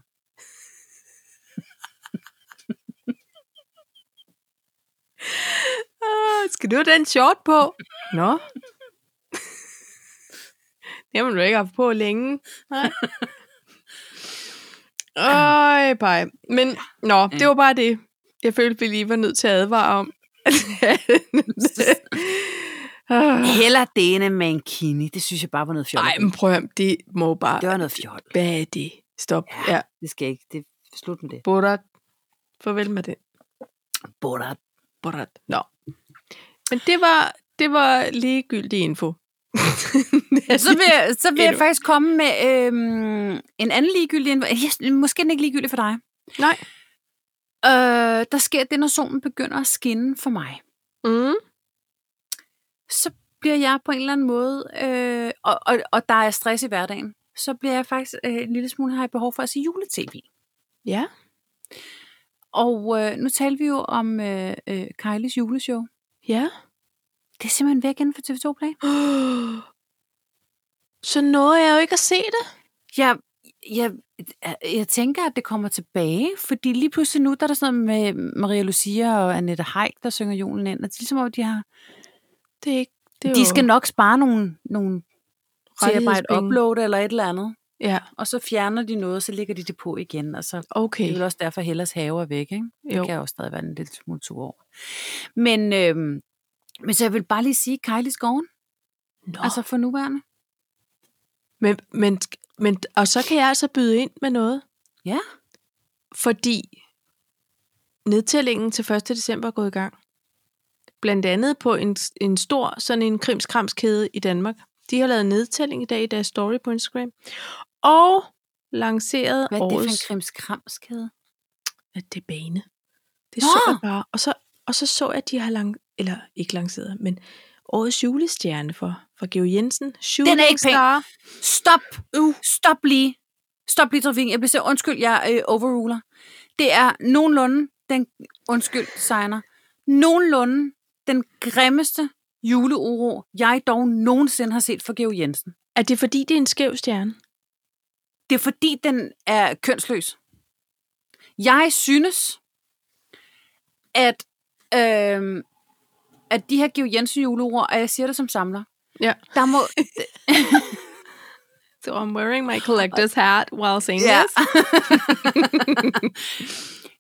Speaker 2: Ah, skal du have den short på?
Speaker 1: [laughs]
Speaker 2: Nå. Det har man jo ikke haft på længe. Nej. Øj, pej. Men, nå, det var bare det. Jeg følte, vi lige var nødt til at advare om. [laughs] Ah.
Speaker 1: Heller denne med en kini. Det synes jeg bare var noget fjol.
Speaker 2: Ej, men prøv at høre, det må bare...
Speaker 1: Det var noget fjol.
Speaker 2: Hvad er det? Stop.
Speaker 1: Ja.
Speaker 2: Ja.
Speaker 1: Det skal jeg ikke. Det er slut med det.
Speaker 2: Borat. Farvel med det.
Speaker 1: Borat.
Speaker 2: Borat. Nå. Men det var, det var ligegyldig info.
Speaker 1: Så vil, jeg- så vil jeg
Speaker 2: Endnu.
Speaker 1: faktisk komme med øhm, en anden ligegyldig... indv- Ja, Måske den ikke ligegyldig for dig.
Speaker 2: Nej.
Speaker 1: Øh, der sker det, når solen begynder at skinne for mig.
Speaker 2: Mm.
Speaker 1: så bliver jeg på en eller anden måde, øh, og, og, og der er stress i hverdagen, så bliver jeg faktisk øh, en lille smule, har jeg behov for at se juletv.
Speaker 2: Ja.
Speaker 1: Og øh, nu talte vi jo om øh, øh, Kylies juleshow.
Speaker 2: Ja.
Speaker 1: Det er simpelthen væk inden for TV2 Play.
Speaker 2: Så nåede jeg jo ikke at se det.
Speaker 1: Jeg, jeg, jeg tænker, at det kommer tilbage, fordi lige pludselig nu, der er der sådan noget med Maria Lucia og Annette Haik, der synger julen ind, og det er ligesom, om de har...
Speaker 2: Det er ikke... Det er
Speaker 1: De
Speaker 2: jo-
Speaker 1: skal nok spare nogle, nogle til at bare et
Speaker 2: Rettighedspenge.
Speaker 1: upload eller et eller andet,
Speaker 2: Ja,
Speaker 1: og så fjerner de noget, og så lægger de det på igen, og så
Speaker 2: okay.
Speaker 1: Det er vel også derfor, Hellas have er væk, ikke? Det
Speaker 2: Jo.
Speaker 1: jo. kan jeg også stadig være en lille smule tur over. Men, øhm, men så jeg vil bare lige sige, Kylie Skoven,
Speaker 2: Nå.
Speaker 1: oh. altså for nuværende.
Speaker 2: Men, men, men, og så kan jeg altså byde ind med noget.
Speaker 1: Ja.
Speaker 2: Fordi nedtællingen til 1. december er gået i gang. Blandt andet på en, en stor sådan en krimskramskæde i Danmark. De har lavet nedtælling i dag i deres story på Instagram. Og lanceret
Speaker 1: Hvad er det for en
Speaker 2: årets...
Speaker 1: krimskramskæde?
Speaker 2: Ja, det er bane. Det
Speaker 1: Nå!
Speaker 2: så jeg bare. Og så, og så så jeg, at de har lang... Eller ikke lanceret, men årets julestjerne for, for Geo Jensen. Shooting
Speaker 1: ikke pæn.
Speaker 2: Star.
Speaker 1: Stop!
Speaker 2: Uh.
Speaker 1: Stop lige! Stop lige, trafikken. Jeg bliver så undskyld, jeg øh, overruler. Det er nogenlunde den, undskyld, signer, nogenlunde den grimmeste juleuro, jeg dog nogensinde har set for Georg Jensen.
Speaker 2: Er det fordi, det er en skæv stjerne?
Speaker 1: Det er fordi, den er kønsløs. Jeg synes, at, øhm, at de her Georg Jensen juleord, og jeg siger det som samler,
Speaker 2: Ja.
Speaker 1: der må...
Speaker 2: So I'm wearing my collector's hat while saying
Speaker 1: Ja.
Speaker 2: this.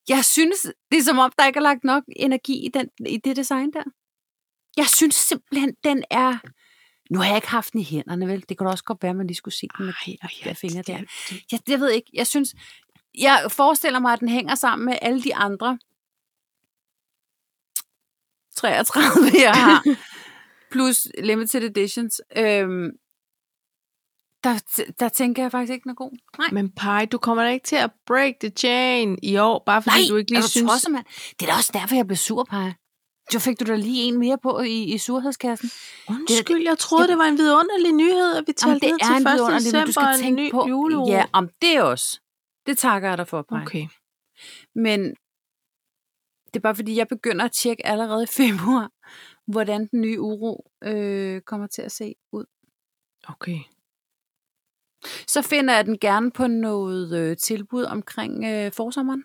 Speaker 1: jeg synes, det er som om, der ikke er lagt nok energi i, den, i det design der. Jeg synes simpelthen, den er... Nu har jeg ikke haft den i hænderne, vel? Det kunne da også godt være, at man lige skulle se den med
Speaker 2: Ej, ej,
Speaker 1: de der fingre der.
Speaker 2: det- det-
Speaker 1: Jeg, jeg ved ikke, jeg synes... Jeg forestiller mig, at den hænger sammen med alle de andre 33, [laughs] jeg har. plus limited editions. Øhm, der, der tænker jeg faktisk ikke, den er god. Nej.
Speaker 2: Men Pai, du kommer da ikke til at break the chain i år, bare fordi
Speaker 1: Nej,
Speaker 2: du ikke lige
Speaker 1: er du
Speaker 2: synes...
Speaker 1: tosset, mand? Det er da også derfor, jeg blev sur, Paj. Så fik du da lige en mere på i, i surhedskassen.
Speaker 2: Undskyld, jeg troede, det var en vidunderlig nyhed, at vi
Speaker 1: Jamen,
Speaker 2: talte
Speaker 1: det
Speaker 2: ned
Speaker 1: er en vidunderlig,
Speaker 2: til 1.
Speaker 1: men du
Speaker 2: december
Speaker 1: skal
Speaker 2: en
Speaker 1: tænke
Speaker 2: ny
Speaker 1: på.
Speaker 2: juleuge.
Speaker 1: Ja, om det også. Det takker jeg dig for, Paj.
Speaker 2: okay.
Speaker 1: Men det er bare fordi, jeg begynder at tjekke allerede i februar, hvordan den nye uro øh, kommer til at se ud.
Speaker 2: okay.
Speaker 1: Så finder jeg den gerne på noget øh, tilbud omkring øh, forsommeren.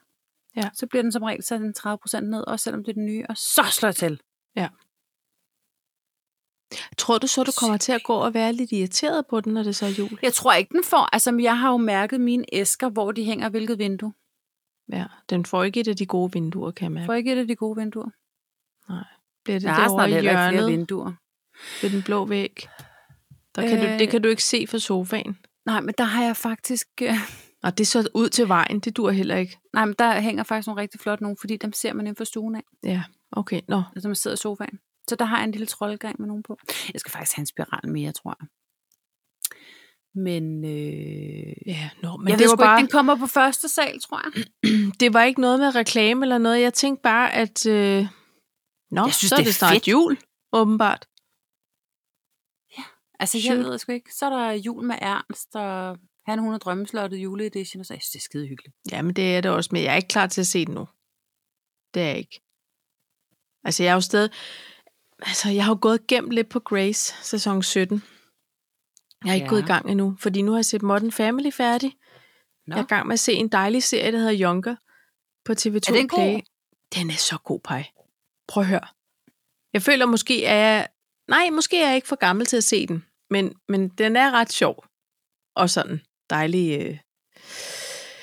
Speaker 2: Ja.
Speaker 1: Så bliver den som regel sat en 30% ned, også selvom det er den nye, og så slår jeg til.
Speaker 2: Tror du så, du kommer til at gå og være lidt irriteret på den, når det så er jul?
Speaker 1: Jeg tror ikke, den får. Altså, men jeg har jo mærket mine æsker, hvor de hænger, hvilket vindue.
Speaker 2: Ja, den får ikke et af de gode vinduer, kan man.
Speaker 1: Får ikke et af de gode vinduer.
Speaker 2: Bliver det
Speaker 1: Der er
Speaker 2: derovre
Speaker 1: snart
Speaker 2: i
Speaker 1: heller ikke flere
Speaker 2: hjørnet
Speaker 1: vinduer.
Speaker 2: ved den blå væg? Der kan du,
Speaker 1: Øh.
Speaker 2: det kan du ikke se fra sofaen.
Speaker 1: Nej, men der har jeg faktisk... øh,
Speaker 2: Og det er så ud til vejen, det dur heller ikke.
Speaker 1: Nej, men der hænger faktisk nogle rigtig flotte nogle, fordi dem ser man inden for stuen af,
Speaker 2: Ja, okay. Nå,
Speaker 1: altså man sidder i sofaen. Så der har jeg en lille troldgang med nogen på. Jeg skal faktisk have en spiral mere, tror jeg. Men, øh, men
Speaker 2: ja, nå men
Speaker 1: jeg
Speaker 2: det
Speaker 1: ved sgu
Speaker 2: var bare...
Speaker 1: ikke, den kommer på første sal, tror jeg.
Speaker 2: det var ikke noget med reklame eller noget. Jeg tænkte bare, at øh, nå,
Speaker 1: Jeg synes,
Speaker 2: så er
Speaker 1: det
Speaker 2: det,
Speaker 1: er
Speaker 2: snart
Speaker 1: fedt.
Speaker 2: jul, åbenbart.
Speaker 1: Altså, jeg
Speaker 2: Shoot.
Speaker 1: ved sgu ikke. Så er der jul med Ernst, og han hun har drømmeslottet juleedition, og så jeg synes, det er skide hyggeligt.
Speaker 2: Jamen, det er det også, men jeg er ikke klar til at se det nu. Det er jeg ikke. Altså, jeg er jo stadig... Altså, jeg har jo gået gennem lidt på Grace, sæson 17. Jeg er
Speaker 1: Ja.
Speaker 2: ikke ja. gået i gang endnu, fordi nu har jeg set Modern Family færdig.
Speaker 1: Nå.
Speaker 2: Jeg er i gang med at se en dejlig serie, der hedder Younger på TV2
Speaker 1: Er den god?
Speaker 2: Play. Den er så god, Paj. Prøv at høre. Jeg føler måske, at jeg... Nej, måske er jeg ikke for gammel til at se den, men, men den er ret sjov. Og sådan dejlig øh,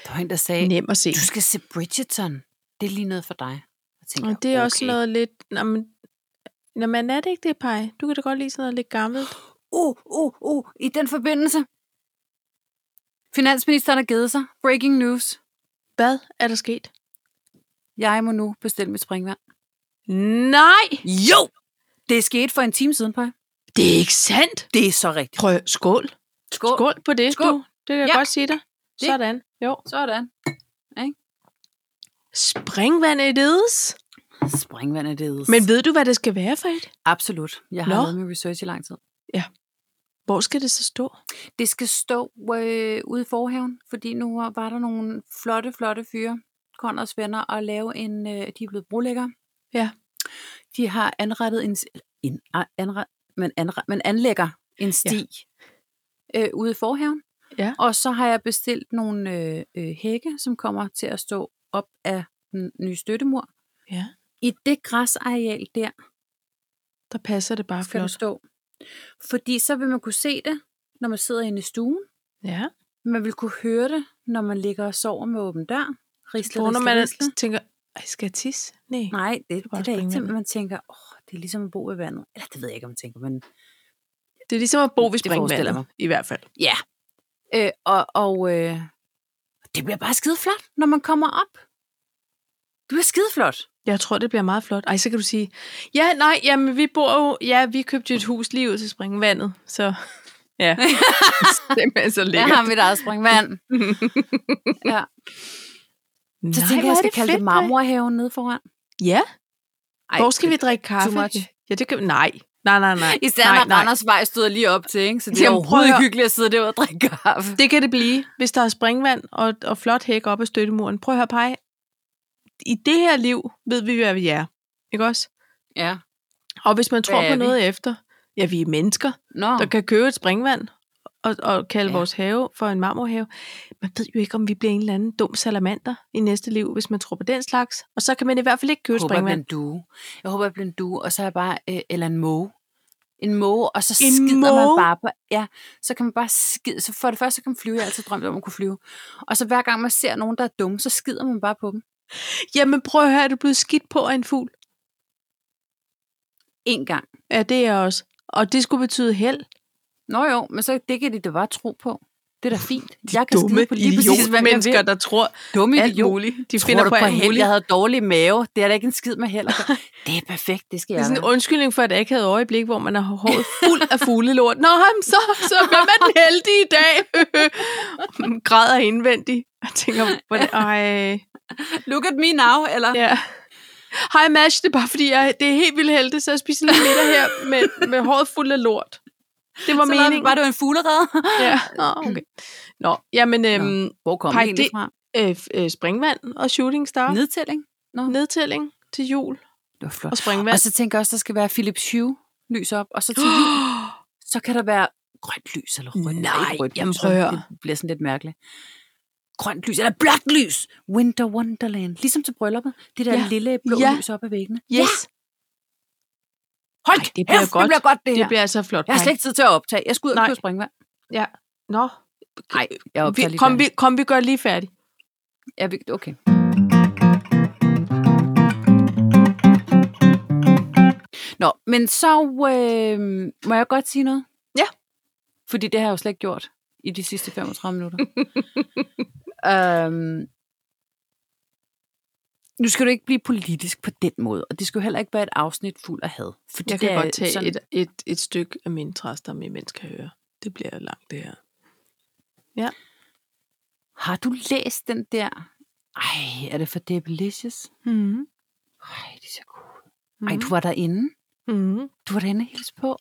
Speaker 1: Der var en, der sagde,
Speaker 2: nem at se.
Speaker 1: du skal se Bridgerton. Det er lige noget for dig. Jeg tænker,
Speaker 2: Og det er okay. også
Speaker 1: okay.
Speaker 2: noget lidt... Nå, men, nå, men er det ikke det, Paj? Du kan da godt lide sådan noget lidt gammelt.
Speaker 1: uh, uh, uh, i den forbindelse. Finansministeren har givet sig. Breaking news.
Speaker 2: Hvad er der sket?
Speaker 1: Jeg må nu bestille mit springvand.
Speaker 2: Nej!
Speaker 1: Jo! Det skete for en time siden, Paj.
Speaker 2: Det er ikke sandt!
Speaker 1: Det er så rigtigt.
Speaker 2: Prøv, skål.
Speaker 1: Skål.
Speaker 2: Skål på det,
Speaker 1: Skål.
Speaker 2: du. Det kan jeg
Speaker 1: Ja.
Speaker 2: godt sige dig.
Speaker 1: Det-
Speaker 2: Sådan. Jo.
Speaker 1: Sådan.
Speaker 2: Springvand i ledes.
Speaker 1: Springvand er det.
Speaker 2: Men ved du, hvad det skal være for et?
Speaker 1: Absolut. Jeg har
Speaker 2: Nå.
Speaker 1: lavet min research i lang tid.
Speaker 2: Hvor skal det så stå?
Speaker 1: Det skal stå øh, ude i forhaven, fordi nu var der nogle flotte, flotte fyre, Konrads venner, og lave en, øh, de er blevet brolæggere.
Speaker 2: Ja.
Speaker 1: De har anrettet en, en anret, men, anret, men anlægger en sti ja. øh, ude i forhaven.
Speaker 2: Ja.
Speaker 1: Og så har jeg bestilt nogle øh, øh, hække, som kommer til at stå op af den nye støttemur.
Speaker 2: Ja.
Speaker 1: I det græsareal der,
Speaker 2: Der passer det bare
Speaker 1: skal den
Speaker 2: flot.
Speaker 1: stå. Fordi så vil man kunne se det, når man sidder inde i stuen.
Speaker 2: Ja.
Speaker 1: Man vil kunne høre det, når man ligger og sover med åben dør. Risle,
Speaker 2: Hvor når
Speaker 1: risle,
Speaker 2: man
Speaker 1: risle.
Speaker 2: tænker, "Ej, skal jeg tisse? Nej.
Speaker 1: Nej, det, det,
Speaker 2: bare
Speaker 1: det er da ikke til,
Speaker 2: springvandet.
Speaker 1: man tænker, åh, det er ligesom at bo ved vandet. Eller det ved jeg ikke, om man tænker, men
Speaker 2: Det er ligesom at bo ved
Speaker 1: Det forestiller
Speaker 2: springvandet, i hvert fald.
Speaker 1: ja. Øh, og og øh, det bliver bare skide flot, når man kommer op. Det bliver skide flot.
Speaker 2: Jeg tror, det bliver meget flot. Ej, så kan du sige, ja, nej, jamen, vi bor jo, ja, vi købte jo et hus lige ud til springvandet, så [laughs] ja, simpelthen så
Speaker 1: Jeg
Speaker 2: lækkert.
Speaker 1: har mit eget springvand. ja. Så
Speaker 2: Nej,
Speaker 1: tænker jeg,
Speaker 2: hvor
Speaker 1: jeg
Speaker 2: er
Speaker 1: skal
Speaker 2: det
Speaker 1: kalde det
Speaker 2: fedt, mand.
Speaker 1: marmorhaven nede foran.
Speaker 2: Ja,
Speaker 1: Ej,
Speaker 2: hvor skal vi drikke kaffe?
Speaker 1: much.
Speaker 2: Ja, det kan nej. Nej, nej, nej.
Speaker 1: Især
Speaker 2: nej,
Speaker 1: når
Speaker 2: nej.
Speaker 1: Randers vej stod lige op til, ikke? så det er
Speaker 2: Jamen, prøv
Speaker 1: overhovedet
Speaker 2: at
Speaker 1: ikke
Speaker 2: høre.
Speaker 1: hyggeligt at sidde derude og drikke kaffe.
Speaker 2: Det kan det blive, hvis der er springvand og, og flot hæk op ad støttemuren. Prøv at høre, Paj. I det her liv ved vi, hvad vi er. Ikke også?
Speaker 1: Ja.
Speaker 2: Og hvis man tror
Speaker 1: Hvad
Speaker 2: på
Speaker 1: er vi?
Speaker 2: noget efter, ja, vi er mennesker.
Speaker 1: Nå.
Speaker 2: der kan købe et springvand og, og kalde
Speaker 1: Ja.
Speaker 2: ja. vores have for en marmorhave. Man ved jo ikke, om vi bliver en eller anden dum salamander i næste liv, hvis man tror på den slags. Og så kan man i hvert fald ikke købe
Speaker 1: Jeg håber, jeg bliver en
Speaker 2: springvand.
Speaker 1: due. Jeg håber, jeg bliver en due, og så er jeg bare, øh, eller en måge. En måge, og så
Speaker 2: En
Speaker 1: skider man
Speaker 2: måge?
Speaker 1: bare på, ja, så kan man bare skide, så for det første, så kan man flyve, jeg har altid drømt om at kunne flyve, og så hver gang man ser nogen, der er dumme, så skider man bare på dem.
Speaker 2: Jamen prøv at høre, er du blevet skidt på af en fugl?
Speaker 1: En gang.
Speaker 2: Ja, det er jeg også. Og det skulle betyde held.
Speaker 1: Nå jo, men så det kan de da bare tro på. Det er da fint.
Speaker 2: De
Speaker 1: jeg kan skide på lige præcis, hvad jeg
Speaker 2: mennesker,
Speaker 1: vil.
Speaker 2: der tror
Speaker 1: Dumme
Speaker 2: alt
Speaker 1: idiot.
Speaker 2: muligt. De
Speaker 1: Tror
Speaker 2: finder
Speaker 1: du
Speaker 2: på alt
Speaker 1: held?
Speaker 2: muligt.
Speaker 1: Jeg havde dårlig mave. Det er da ikke en skid med heller. [laughs] Det er perfekt, det skal
Speaker 2: Det er
Speaker 1: jeg
Speaker 2: sådan en
Speaker 1: være.
Speaker 2: undskyldning for et akavet øjeblik, hvor man har [laughs] håret fuld af fuglelort. Nå, jamen, så, så hvem er den heldige i dag? [laughs] Man græder indvendigt. Jeg tænker, hvordan, ej,
Speaker 1: Look at me now, eller?
Speaker 2: ja. Hej Mash, det er bare fordi, jeg, det er helt vildt heldigt, så jeg spiser lidt middag her med, med håret fuld af lort. Det var
Speaker 1: Så lavede vi
Speaker 2: meningen.
Speaker 1: bare, det var en fuglerede.
Speaker 2: Ja. Nå, okay. Nå, jamen, øhm,
Speaker 1: [laughs] Hvor kom
Speaker 2: Pej,
Speaker 1: det egentlig
Speaker 2: det-
Speaker 1: fra?
Speaker 2: øh, f- øh, springvand og shooting star.
Speaker 1: Nedtælling?
Speaker 2: Nedtælling til jul
Speaker 1: Det var flot.
Speaker 2: og springvand.
Speaker 1: Og så tænker jeg også, der skal være Philips Hue lys op, og så
Speaker 2: [gasps]
Speaker 1: til jul, så kan der være grønt lys eller rødt.
Speaker 2: Nej,
Speaker 1: ikke rødt
Speaker 2: jamen
Speaker 1: lys,
Speaker 2: prøv at
Speaker 1: så
Speaker 2: høre.
Speaker 1: Det bliver sådan lidt mærkeligt. Grønt lys, eller blåt lys. Winter Wonderland. Ligesom til brylluppet. Det der
Speaker 2: Ja.
Speaker 1: ja. lille blå
Speaker 2: Ja.
Speaker 1: ja. lys op ad væggene.
Speaker 2: yes,
Speaker 1: Hold
Speaker 2: Ej,
Speaker 1: Ej,
Speaker 2: det bliver godt.
Speaker 1: det bliver godt det,
Speaker 2: det
Speaker 1: her.
Speaker 2: bliver altså flot.
Speaker 1: Jeg har
Speaker 2: Maj.
Speaker 1: slet ikke tid til at optage. Jeg skal ud
Speaker 2: Nej.
Speaker 1: og købe springvand.
Speaker 2: Nå,
Speaker 1: Nej, jeg
Speaker 2: vi,
Speaker 1: optager lige
Speaker 2: kom,
Speaker 1: færdig.
Speaker 2: vi, kom, vi gør lige færdig.
Speaker 1: Ja, vi, okay. Nå, men så øh, må jeg godt sige noget?
Speaker 2: Ja.
Speaker 1: Fordi det har jeg jo slet ikke gjort i de sidste 35
Speaker 2: [laughs]
Speaker 1: minutter. øhm, nu skal du ikke blive politisk på den måde, og det skal jo heller ikke være et afsnit fuld af had. Fordi
Speaker 2: Jeg kan
Speaker 1: det er
Speaker 2: godt tage
Speaker 1: sådan-
Speaker 2: et, et, et stykke af mine træster, med mens kan høre. Det bliver langt, det her.
Speaker 1: Har du læst den der? Ej, er det for Debelicious?
Speaker 2: Mm-hmm.
Speaker 1: Ej, det er så cool. Mhm. Ej, du var derinde.
Speaker 2: Mm-hmm.
Speaker 1: Du var derinde og hilse på.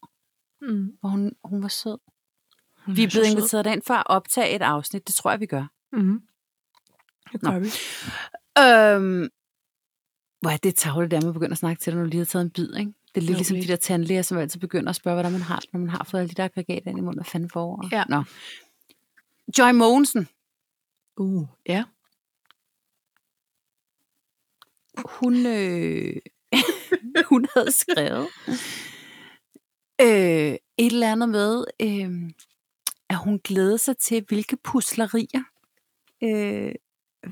Speaker 2: Mm-hmm.
Speaker 1: hvor hun, hun var sød. Vi er blevet inviteret derind for at optage et afsnit. Det tror jeg, vi gør.
Speaker 2: Mm-hmm. Det
Speaker 1: Nå.
Speaker 2: gør vi.
Speaker 1: Øhm, hvor er det tavligt, der man begynder at snakke til dig, når du lige har taget en bid, ikke? Det er lidt
Speaker 2: Jo,
Speaker 1: jo, ligesom
Speaker 2: lidt.
Speaker 1: de der tandlæger, som altid begynder at spørge, hvordan man har det, når man har fået alle de der aggregater ind i munden. Hvad fanden for over?
Speaker 2: Ja.
Speaker 1: Nå. Joy Mogensen,
Speaker 2: Uh, ja.
Speaker 1: hun, øh, [laughs] hun havde skrevet øh, et eller andet med, øh, at hun glæder sig til, hvilke puslerier øh,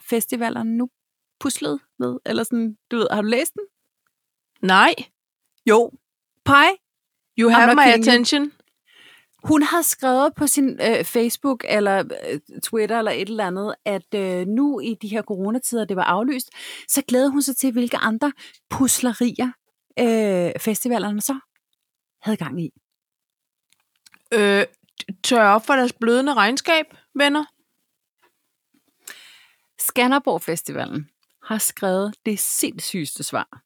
Speaker 1: festivalerne nu puslede med. Eller sådan, du ved, har du læst den?
Speaker 2: Nej.
Speaker 1: Jo. Pej,
Speaker 2: You have
Speaker 1: not
Speaker 2: my
Speaker 1: kidding you.
Speaker 2: attention.
Speaker 1: hun har skrevet på sin øh, Facebook eller øh, Twitter eller et eller andet, at øh, nu i de her coronatider, det var aflyst, så glæder hun sig til, hvilke andre puslerier øh, festivalerne så havde gang i.
Speaker 2: Øh, tør op for deres blødende regnskab, venner.
Speaker 1: Skanderborg Festivalen har skrevet det sindssygeste svar.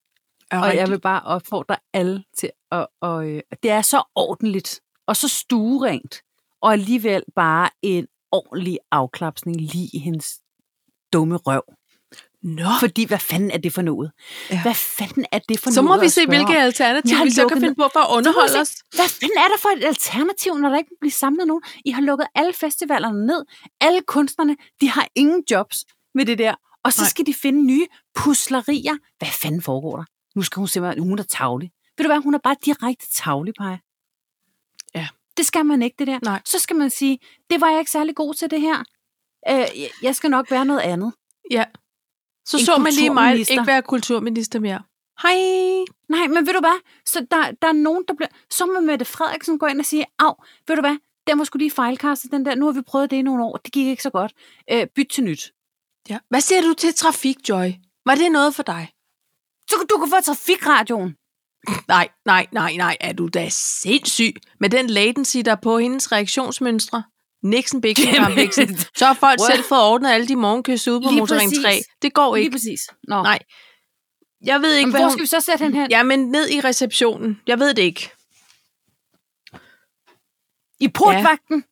Speaker 2: Er
Speaker 1: Og jeg vil bare opfordre alle til at... Og, øh, det er så ordentligt, og så stuerent, og alligevel bare en ordentlig afklapsning lige i hendes dumme røv.
Speaker 2: Nå,
Speaker 1: [laughs] Fordi hvad fanden er det for noget?
Speaker 2: Ja.
Speaker 1: Ja. Hvad fanden er det for
Speaker 2: så
Speaker 1: noget
Speaker 2: må vi
Speaker 1: at
Speaker 2: se,
Speaker 1: spørge
Speaker 2: hvilke
Speaker 1: om? Jeg
Speaker 2: alternativer
Speaker 1: har
Speaker 2: vi så kan
Speaker 1: lukket
Speaker 2: finde på for at underholde
Speaker 1: se-
Speaker 2: os.
Speaker 1: Hvad fanden er der for et alternativ, når der ikke bliver samlet nogen? I har lukket alle festivalerne ned. Alle kunstnerne, de har ingen jobs med det der. Og så
Speaker 2: Nej.
Speaker 1: Nej. skal de finde nye puslerier. Hvad fanden foregår der? Nu skal hun simpelthen, hun er tavlig. Ved du hvad, hun er bare direkte tavlig, Paj.
Speaker 2: Ja.
Speaker 1: Det skal man ikke, det der.
Speaker 2: Nej.
Speaker 1: Så skal man sige, det var jeg ikke særlig god til det her. Øh, jeg- jeg skal nok være noget andet.
Speaker 2: Ja. Så
Speaker 1: En
Speaker 2: så man lige mig
Speaker 1: kulturminister.
Speaker 2: ikke være kulturminister mere. Hej.
Speaker 1: Nej, men ved du hvad? Så der, der er nogen, der bliver... Så må Mette Frederiksen gå ind og sige, af, ved du hvad? Den var sgu lige fejlkastet, den der. Nu har vi prøvet det i nogle år. Det gik ikke så godt. Øh, byt til nyt.
Speaker 2: Ja. Hvad siger du til trafik, Joy? Var det noget for dig?
Speaker 1: Så kan- du kan få [laughs] trafikradioen.
Speaker 2: Nej, nej, nej, nej, er du da sindssyg med den latency, der er på hendes reaktionsmønstre? Nixon, Bixen, Kram, Bixen. Så har folk
Speaker 1: What?
Speaker 2: selv fået ordnet alle de morgenkøs ude på
Speaker 1: Lige
Speaker 2: motorring 3.
Speaker 1: præcis.
Speaker 2: Det går
Speaker 1: Lige
Speaker 2: ikke.
Speaker 1: præcis. Nå.
Speaker 2: Nej, Jeg ved ikke,
Speaker 1: men
Speaker 2: hvor
Speaker 1: hvor
Speaker 2: hun...
Speaker 1: skal vi så sætte hende hen?
Speaker 2: Jamen, ned i receptionen. Jeg ved det ikke.
Speaker 1: I portvagten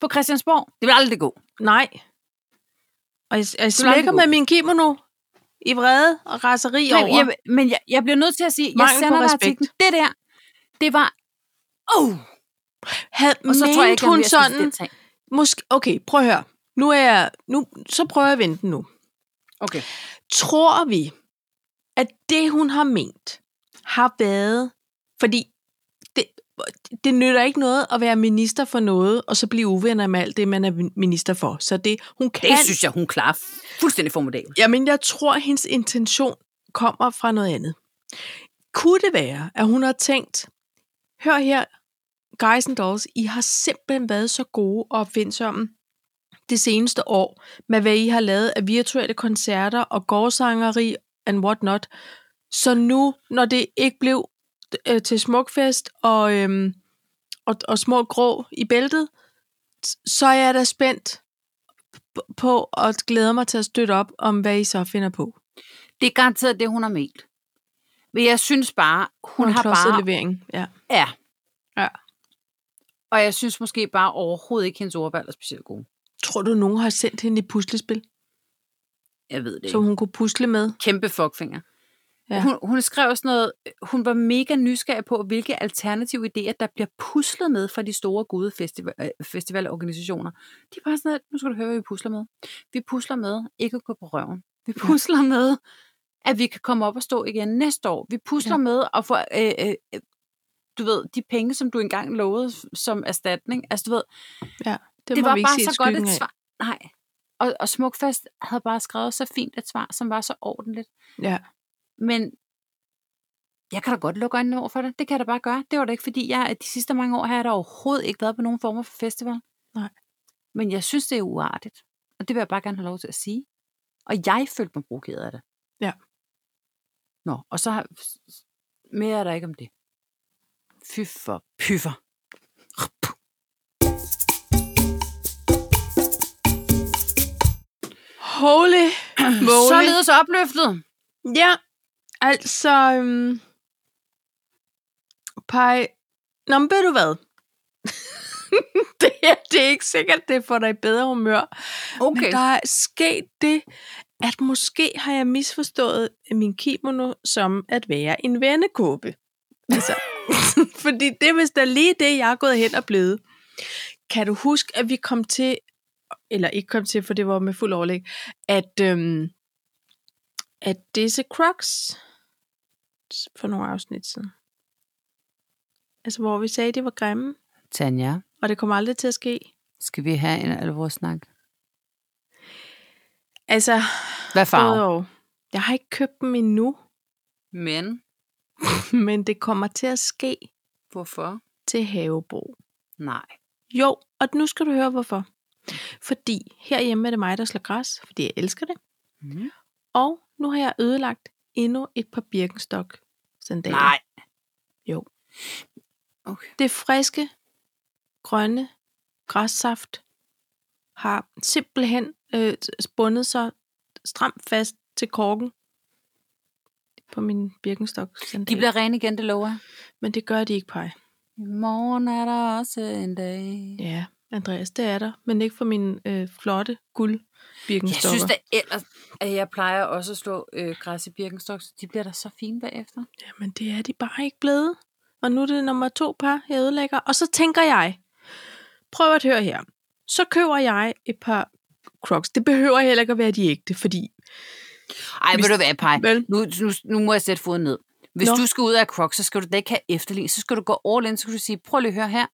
Speaker 1: på Christiansborg. Det vil aldrig gå.
Speaker 2: Nej. Og jeg, jeg slækker
Speaker 1: aldrig
Speaker 2: med
Speaker 1: gå.
Speaker 2: min kimono i vrede og raseri
Speaker 1: Nej,
Speaker 2: over.
Speaker 1: jeg, men jeg, jeg bliver nødt til at sige, jeg
Speaker 2: Mangel på
Speaker 1: sender dig
Speaker 2: respekt.
Speaker 1: artiklen. Det der, det var... Oh,
Speaker 2: Havde,
Speaker 1: og så tror jeg ikke, han
Speaker 2: mente hun
Speaker 1: vil have spist
Speaker 2: sådan...
Speaker 1: det tag.
Speaker 2: Måske, okay, prøv at høre. Nu er jeg, nu, så prøver jeg at vente nu.
Speaker 1: Okay.
Speaker 2: Tror vi, at det, hun har ment, har været... Fordi det, det nytter ikke noget at være minister for noget, og så blive uvenner med alt det, man er minister for. Så det, hun kan...
Speaker 1: Det synes jeg, hun klarer fuldstændig formidabelt.
Speaker 2: [laughs] Jamen, jeg tror, hendes intention kommer fra noget andet. Kunne det være, at hun har tænkt, hør her, guys and dolls, I har simpelthen været så gode og opfindsomme det seneste år, med hvad I har lavet af virtuelle koncerter og gårdsangeri and what not. Så nu, når det ikke blev øh, til smukfest og, øhm, og, og små grå i bæltet, s- så er jeg da spændt p- på og glæder mig til at støtte op om, hvad I så finder på.
Speaker 1: Det er garanteret det, hun har ment. Men jeg synes bare, hun, hun har bare...
Speaker 2: levering. Ja.
Speaker 1: Ja.
Speaker 2: Ja.
Speaker 1: Og jeg synes måske bare overhovedet ikke, hendes ordvalg er specielt god.
Speaker 2: Tror du, nogen har sendt hende et puslespil,
Speaker 1: Jeg ved det
Speaker 2: som
Speaker 1: ikke.
Speaker 2: hun kunne pusle med?
Speaker 1: Kæmpe fuckfinger.
Speaker 2: Ja.
Speaker 1: Ja. Hun, hun skrev sådan noget, hun var mega nysgerrig på, hvilke alternative idéer, der bliver puslet med fra de store gode festival, øh, festivalorganisationer. De er bare sådan noget, nu skal du høre, hvad vi pusler med. Vi pusler med ikke at gå på røven. Vi pusler med, at vi kan komme op og stå igen næste år. Vi pusler
Speaker 2: Ja.
Speaker 1: ja. med at få, øh, øh, øh, du ved, de penge, som du engang lovede som erstatning. Altså, du ved, det, det
Speaker 2: må
Speaker 1: var
Speaker 2: vi ikke
Speaker 1: bare
Speaker 2: se
Speaker 1: så godt
Speaker 2: skyggen
Speaker 1: et
Speaker 2: af.
Speaker 1: svar. Nej. Og, og Smukfest havde bare skrevet så fint et svar, som var så ordentligt.
Speaker 2: Ja.
Speaker 1: Men jeg kan da godt lukke øjnene over for det. Det kan jeg da bare gøre. Det var da ikke, fordi jeg de sidste mange år har jeg da overhovedet ikke været på nogen former for festival.
Speaker 2: Nej.
Speaker 1: Men jeg synes, det er uartigt. Og det vil jeg bare gerne have lov til at sige. Og jeg følte mig provokeret af det.
Speaker 2: Ja.
Speaker 1: Nå, og så har... Mere er der ikke om det. Fy for pyffer. [clears throat]
Speaker 2: Holy moly.
Speaker 1: Således opløftet.
Speaker 2: Ja, altså... Øhm, pej... Nå, men ved du hvad? [laughs] det, her, det er ikke sikkert, det får dig i bedre humør. Okay. Men der er sket det, at måske har jeg misforstået min kimono som at være en vennekåbe. Altså, [laughs] fordi det er vist da lige det, jeg er gået hen og blevet. Kan du huske, at vi kom til, eller ikke kom til, for det var med fuld overlæg, at, øhm, at Disse Crocs for nogle afsnit siden. Altså, hvor vi sagde, at det var grimme,
Speaker 1: Tanja,
Speaker 2: og det kommer aldrig til at ske.
Speaker 1: skal vi have en alvorsnak?
Speaker 2: Altså,
Speaker 1: Hvad
Speaker 2: både og. Jeg har ikke købt dem endnu.
Speaker 1: Men
Speaker 2: [laughs] Men det kommer til at ske
Speaker 1: hvorfor?
Speaker 2: til havebo.
Speaker 1: Nej.
Speaker 2: Jo, og nu skal du høre hvorfor. Fordi herhjemme er det mig, der slår græs, fordi jeg elsker det.
Speaker 1: Mm.
Speaker 2: Og nu har jeg ødelagt endnu et par birkenstok sandaler.
Speaker 1: Nej.
Speaker 2: Jo.
Speaker 1: Okay.
Speaker 2: Det friske, grønne græssaft har simpelthen øh, bundet sig stramt fast til korken på min birkenstok
Speaker 1: De
Speaker 2: sandaler.
Speaker 1: bliver rene igen, det lover jeg.
Speaker 2: Men det gør de ikke, Paj.
Speaker 1: I morgen er der også en dag.
Speaker 2: Ja, Andreas, det er der, men ikke for min øh, flotte guld
Speaker 1: Jeg synes
Speaker 2: birkenstokker.
Speaker 1: da ellers, at jeg plejer også at slå øh, græs i Birkenstock, så de bliver da så fine bagefter.
Speaker 2: Jamen, det er de bare ikke blevet. Og nu er det nummer to par, jeg ødelægger. Og så tænker jeg, prøv at høre her. Så køber jeg et par crocs. Det behøver heller ikke at være de ægte, fordi...
Speaker 1: Ej,
Speaker 2: Hvis-
Speaker 1: ved du hvad, Paj?
Speaker 2: Vel?
Speaker 1: Nu, nu, nu må jeg sætte foden ned. Hvis
Speaker 2: Nå.
Speaker 1: Nå. du skal ud af Crocs, så skal du da ikke have efterlign. Så skal du gå all in, så skal du sige, prøv lige at høre her.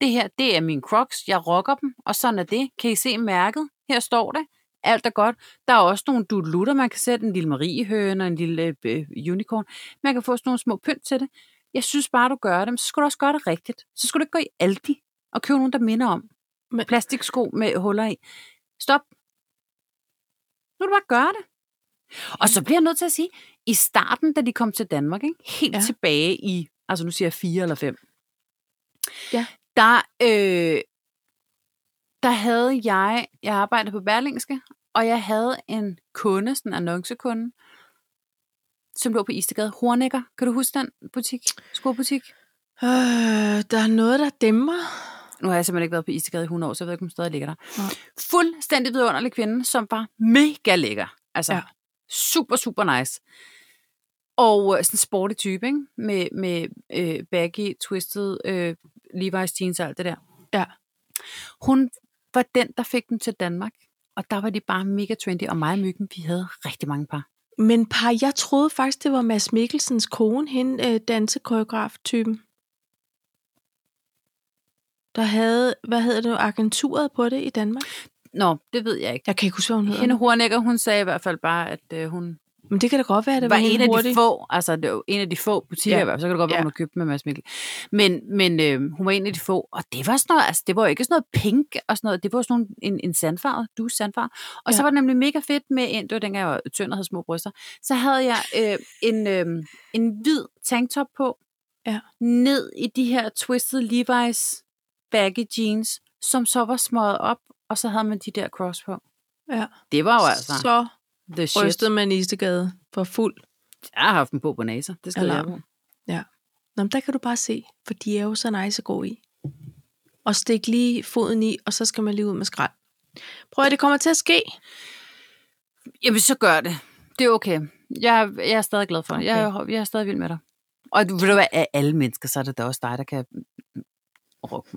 Speaker 1: Det her, det er min Crocs. Jeg rocker dem, og sådan er det. Kan I se mærket? Her står det. Alt er godt. Der er også nogle dutlutter, man kan sætte. En lille mariehøne og en lille øh, unicorn. Man kan få sådan nogle små pynt til det. Jeg synes bare, du gør dem. Så skal du også gøre det rigtigt. Så skal du ikke gå i Aldi og købe nogen, der minder om.
Speaker 2: Men-
Speaker 1: Men... Plastiksko med huller i. Stop. Nu er det bare at gøre det. Og så bliver jeg nødt til at sige, i starten, da de kom til Danmark, ikke? helt
Speaker 2: Ja.
Speaker 1: ja. tilbage i, altså nu siger jeg fire eller fem,
Speaker 2: Ja.
Speaker 1: der, øh, der havde jeg, jeg arbejdede på Berlingske, og jeg havde en kunde, sådan en annoncekunde, som lå på Istegade. Hornækker, kan du huske den butik? Skobutik?
Speaker 2: Øh, der er noget, der dæmmer.
Speaker 1: Nu har jeg simpelthen ikke været på Istegade i 100 år, så jeg ved ikke, om hun stadig ligger der.
Speaker 2: Nej.
Speaker 1: Fuldstændig vidunderlig kvinde, som var mega lækker. Altså,
Speaker 2: Ja.
Speaker 1: ja. super, super nice. Og øh, sådan en sporty type, ikke? Med, med øh, baggy, twisted, øh, Levi's jeans og alt det der.
Speaker 2: Ja.
Speaker 1: Hun var den, der fik dem til Danmark. Og der var de bare mega trendy, og mig og Myggen, vi havde rigtig mange par.
Speaker 2: Men par, jeg troede faktisk, det var Mads Mikkelsens kone, hende øh, dansekoreograf-typen. Der havde, hvad hedder det, nu, agenturet på det i Danmark.
Speaker 1: Nå, det ved jeg ikke.
Speaker 2: Jeg kan ikke huske, hvad hun hedder.
Speaker 1: Hende Hornækker, hun sagde i hvert fald bare, at øh, hun
Speaker 2: Men det kan da godt være, at det var,
Speaker 1: var en af
Speaker 2: hurtigt.
Speaker 1: de få, altså det var en af de få butikker,
Speaker 2: Ja.
Speaker 1: ja. i hvert fald. så kan det godt være,
Speaker 2: Ja.
Speaker 1: hun har købt med Mads Mikkel. Men, men øh, hun var en af de få, og det var sådan noget, altså det var jo ikke sådan noget pink og sådan noget, det var sådan nogle, en, en sandfarve, du sandfarve. Og ja.
Speaker 2: Ja.
Speaker 1: så var det nemlig mega fedt med en, det var dengang jeg var tynd og havde små bryster, så havde jeg øh, en, øh, en hvid tanktop på,
Speaker 2: Ja.
Speaker 1: ned i de her twisted Levi's baggy jeans, som så var smøget op, og så havde man de der cross på.
Speaker 2: Ja.
Speaker 1: Det var jo altså
Speaker 2: Så
Speaker 1: the shit.
Speaker 2: rystede man Istegade for fuld
Speaker 1: Jeg har haft en på på naser. Det skal jeg
Speaker 2: Alarm.
Speaker 1: på.
Speaker 2: Nå, men der kan du bare se, for de er jo så nice at gå i. Og stik lige foden i, og så skal man lige ud med skrald. Prøv at det kommer til at ske.
Speaker 1: Jamen, så gør det. Det er okay. Jeg, jeg er stadig glad for det. Jeg, jeg er stadig vild med dig. Og du, ved du hvad, af alle mennesker, så er det da også dig, der kan rock,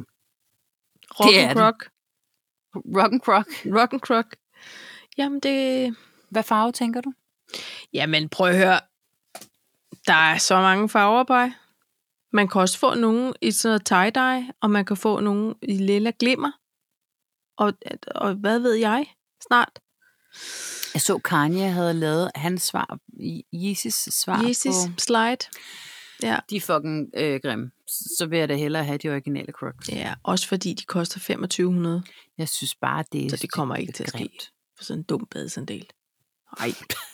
Speaker 2: Rock
Speaker 1: Det er det.
Speaker 2: and croc.
Speaker 1: rock and crock.
Speaker 2: Rock and croc. Jamen det...
Speaker 1: Hvad farve tænker du?
Speaker 2: Jamen prøv at høre. Der er så mange farver på. Man kan også få nogle i sådan noget tie-dye, og man kan få nogle i lilla glimmer. Og, og hvad ved jeg snart?
Speaker 1: Jeg så, Kanye havde lavet hans svar, Jesus' svar
Speaker 2: Jesus
Speaker 1: på...
Speaker 2: slide.
Speaker 1: De er fucking øh, grimme. Så vil jeg da hellere have de originale crocs.
Speaker 2: Ja, også fordi de koster 2500.
Speaker 1: Jeg synes bare, det er...
Speaker 2: Så det kommer ikke til at ske
Speaker 1: grimt.
Speaker 2: for sådan en dum badesandel.
Speaker 1: Ej,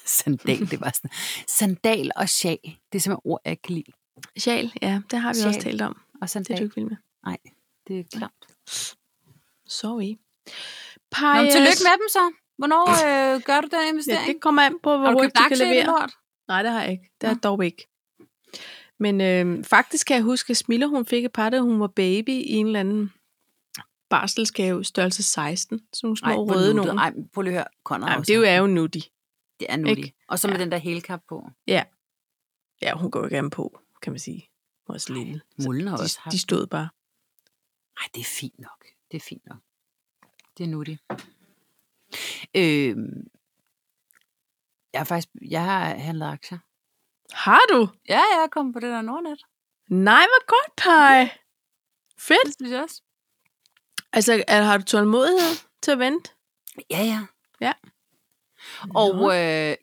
Speaker 1: sandal, det var sådan... Sandal og sjal, det er simpelthen ord, jeg ikke kan lide.
Speaker 2: Sjal, ja, det har vi
Speaker 1: Sjal.
Speaker 2: også talt om.
Speaker 1: Og
Speaker 2: Det er
Speaker 1: sandal,
Speaker 2: du ikke vild med.
Speaker 1: det er klart.
Speaker 2: Sorry.
Speaker 1: Nå,
Speaker 2: Pie,
Speaker 1: men tillykke med dem så. [laughs] Hvornår øh, gør du den investering?
Speaker 2: Ja, det kommer an på,
Speaker 1: har
Speaker 2: hvor
Speaker 1: du
Speaker 2: hurtigt
Speaker 1: købt
Speaker 2: de kan
Speaker 1: aktier i det
Speaker 2: levere.
Speaker 1: lort?
Speaker 2: Nej, det har jeg ikke. Det
Speaker 1: Nå.
Speaker 2: har jeg dog ikke. Men øh, faktisk kan jeg huske, at Smilla, hun fik et par, da hun var baby i en eller anden barselsgave, størrelse 16, sådan nogle små
Speaker 1: Nej,
Speaker 2: Ej,
Speaker 1: hvor
Speaker 2: røde
Speaker 1: nuttet.
Speaker 2: nogen.
Speaker 1: Ej, prøv lige at høre. Conrad
Speaker 2: Nej,
Speaker 1: også
Speaker 2: det er jo-
Speaker 1: har-
Speaker 2: er jo nutty.
Speaker 1: det er nuttet.
Speaker 2: ikke?
Speaker 1: Og så med
Speaker 2: Ja.
Speaker 1: den der helkap på.
Speaker 2: Ja, hun går jo gerne på, kan man sige. Hun er også lille. Så
Speaker 1: Mullen har også
Speaker 2: de,
Speaker 1: haft.
Speaker 2: de stod bare.
Speaker 1: Nej, det er fint nok. Det er fint nok. Det er nuttigt. Øh, jeg har faktisk jeg har handlet aktier.
Speaker 2: Har du?
Speaker 1: Ja, jeg er kommet på det der Nordnet.
Speaker 2: Nej, hvor godt, Paj. Fedt.
Speaker 1: Det synes jeg også.
Speaker 2: Altså, er, har du tålmodighed til at [laughs] vente?
Speaker 1: Ja, ja.
Speaker 2: Ja.
Speaker 1: Og
Speaker 2: Nå.
Speaker 1: øh,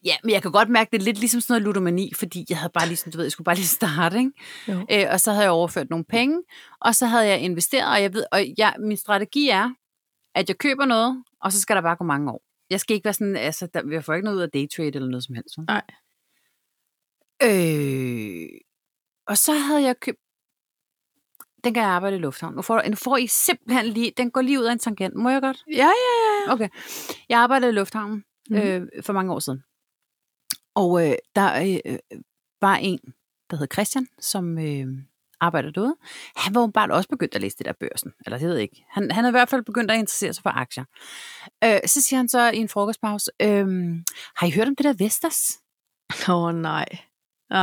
Speaker 1: ja, men jeg kan godt mærke, det er lidt ligesom sådan noget ludomani, fordi jeg havde bare ligesom, du ved, jeg skulle bare lige [laughs] starte, ikke?
Speaker 2: Jo.
Speaker 1: Øh, og så havde jeg overført nogle penge, og så havde jeg investeret, og jeg ved, og jeg, min strategi er, at jeg køber noget, og så skal der bare gå mange år. Jeg skal ikke være sådan, altså, der, jeg får ikke noget ud af daytrade eller noget som helst. vel?
Speaker 2: Nej.
Speaker 1: Øh, og så havde jeg købt, den kan jeg arbejde i Lufthavn. Nu får, du, nu får I simpelthen lige, den går lige ud af en tangent. Må jeg godt?
Speaker 2: Ja, ja, ja.
Speaker 1: Okay. Jeg arbejdede i Lufthavnen
Speaker 2: Mhm.
Speaker 1: øh, for mange år siden. Og øh, der øh, var en, der hed Christian, som øh, arbejder derude. Han var åbenbart også begyndt at læse det der børsen. Eller det ved jeg ikke. Han, han er i hvert fald begyndt at interessere sig for aktier. Øh, så siger han så i en frokostpause, øh, har I hørt om det der Vestas?
Speaker 2: Åh, oh, nej. Ej,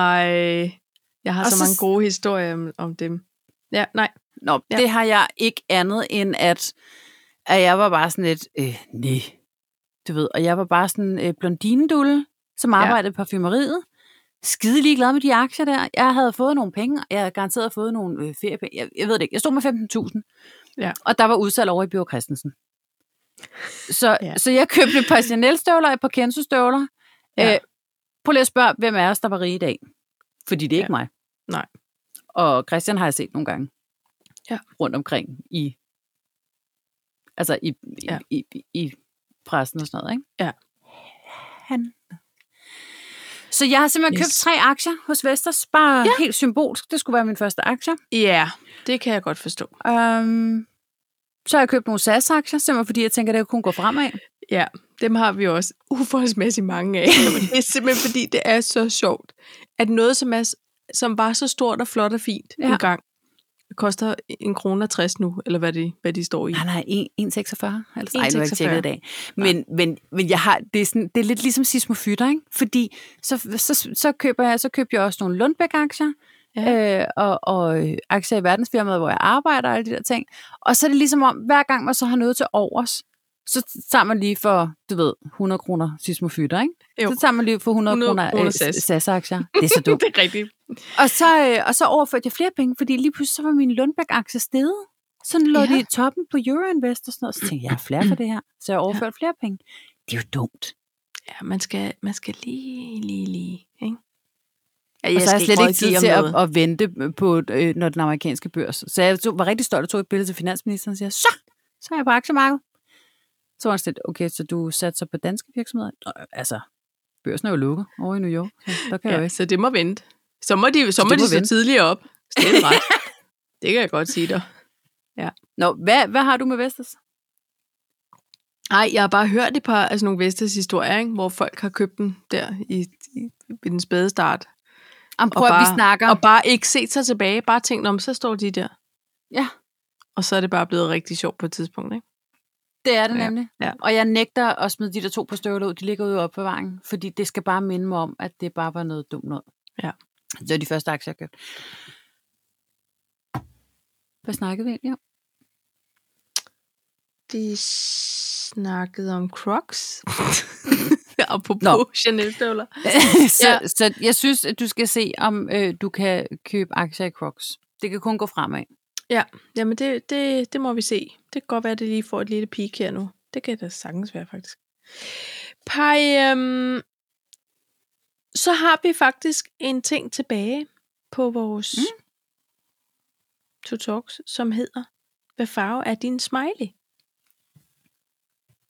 Speaker 2: jeg har
Speaker 1: Og
Speaker 2: så,
Speaker 1: så
Speaker 2: mange
Speaker 1: s-
Speaker 2: gode historier om, om dem. Ja, nej.
Speaker 1: Nå,
Speaker 2: Ja.
Speaker 1: ja. det har jeg ikke andet end, at, at jeg var bare sådan lidt, øh, nej, du ved. Og jeg var bare sådan øh, blondinedulle, som arbejdede ja. i parfumeriet. Skide ligeglad med de aktier der. Jeg havde fået nogle penge, og jeg havde garanteret fået nogle øh, feriepenge. Jeg, jeg ved det ikke. Jeg stod med 15.000.
Speaker 2: Ja.
Speaker 1: Og der var udsalg over i Bjørn Christensen. Så,
Speaker 2: Ja.
Speaker 1: ja. så jeg købte et par Chanel-støvler og et par Kenzo-støvler.
Speaker 2: Ja.
Speaker 1: Ja. Øh, prøv lige at spørge, hvem er os, der var rige i dag? Fordi det er
Speaker 2: Ja.
Speaker 1: ikke mig.
Speaker 2: Nej.
Speaker 1: Og Christian har jeg set nogle gange rundt omkring i altså i,
Speaker 2: Ja.
Speaker 1: ja. i, i, i pressen og sådan noget, ikke?
Speaker 2: Ja.
Speaker 1: Han. Så jeg har simpelthen yes. købt
Speaker 2: Yes.
Speaker 1: tre aktier hos Vestas, bare ja. helt symbolsk. Det skulle være min første aktie.
Speaker 2: Ja, det kan jeg godt forstå.
Speaker 1: Um, så har jeg købt nogle SAS-aktier, simpelthen fordi jeg tænker, at det kunne gå fremad.
Speaker 2: Ja, dem har vi også [laughs] uforholdsmæssigt [laughs] mange af. Men det er simpelthen fordi, det er så sjovt, at noget, som, er, s- som var så stort og flot og fint ja.
Speaker 1: Ja.
Speaker 2: en gang, koster en krone og 60 nu, eller hvad de, hvad de står i.
Speaker 1: Nej, nej, en- 1,46. Altså, ej, nu har jeg ikke
Speaker 2: 1,46.
Speaker 1: tjekket i dag. Men, men, men jeg har, det, er sådan, det er lidt ligesom sismofytter, ikke? Fordi så, så, så, køber jeg, så køber jeg også nogle Lundbæk-aktier, ja. øh, og, og øh, aktier i verdensfirmaet, hvor jeg arbejder og alle de der ting. Og så er det ligesom om, hver gang man så har noget til overs, så tager man lige for, du ved, 100 kroner sismofytter, ikke?
Speaker 2: Jo.
Speaker 1: Så tager man lige for 100,
Speaker 2: 100
Speaker 1: kroner,
Speaker 2: kroner
Speaker 1: øh,
Speaker 2: SAS.
Speaker 1: SAS-aktier. Det er så dumt.
Speaker 2: [laughs] Det er rigtigt.
Speaker 1: Og så, øh, og så overførte jeg flere penge, fordi lige pludselig så var min Lundbæk-aktie steget. Sådan lå
Speaker 2: Ja.
Speaker 1: ja. de i toppen på Euroinvest og sådan noget. Så tænkte jeg, jeg er flere for det her. Så jeg overførte ja. flere penge. Det er jo dumt.
Speaker 2: Ja, man skal, man skal lige, lige, lige. Ikke? Ja,
Speaker 1: og så har jeg slet ikke
Speaker 2: rådgive
Speaker 1: tid
Speaker 2: om
Speaker 1: til
Speaker 2: noget.
Speaker 1: at, at, vente på øh, når den amerikanske børs. Så jeg tog, var rigtig stolt og tog et billede til finansministeren og siger, så, så er jeg på aktiemarkedet. Så var han sådan lidt, okay, så du satser på danske virksomheder? Nå, altså, børsen er jo lukket over i New York. Så der kan ja. jeg jo
Speaker 2: Ja,
Speaker 1: ikke.
Speaker 2: så det må vente. Så må de, så
Speaker 1: Så
Speaker 2: må
Speaker 1: det
Speaker 2: de
Speaker 1: må
Speaker 2: stå
Speaker 1: vente.
Speaker 2: tidligere op. Stille [laughs] ret. det kan jeg godt sige dig.
Speaker 1: Nå, hvad, hvad har du med Vestas?
Speaker 2: Nej, jeg har bare hørt et par altså nogle Vestas historier, ikke? hvor folk har købt den der i, i, i den spæde start.
Speaker 1: Jamen, prøv
Speaker 2: Og
Speaker 1: at vi
Speaker 2: bare-
Speaker 1: snakker.
Speaker 2: Og bare ikke set sig tilbage, bare tænkt om, så står de der.
Speaker 1: Ja.
Speaker 2: Og så er det bare blevet rigtig sjovt på et tidspunkt, ikke?
Speaker 1: Det er det
Speaker 2: Ja,
Speaker 1: nemlig.
Speaker 2: ja.
Speaker 1: Og jeg nægter at smide de der to på støvler ud. De ligger ude i opbevaringen, fordi det skal bare minde mig om, at det bare var noget dumt noget.
Speaker 2: Ja.
Speaker 1: Det var de første aktier, jeg købte. Hvad snakkede vi [laughs] egentlig om?
Speaker 2: Vi snakkede om Crocs. [laughs] Apropos
Speaker 1: Nå.
Speaker 2: Chanel-støvler.
Speaker 1: så,
Speaker 2: Ja.
Speaker 1: ja. så jeg synes, at du skal se, om øh, du kan købe aktier i Crocs. Det kan kun gå fremad.
Speaker 2: Jamen, det, det, det må vi se. Det kan godt være, at det lige får et lille peak her nu. Det kan da sagtens være, faktisk. Pej, øhm, så har vi faktisk en ting tilbage på vores mm. to talks, som hedder, hvad farve er din smiley?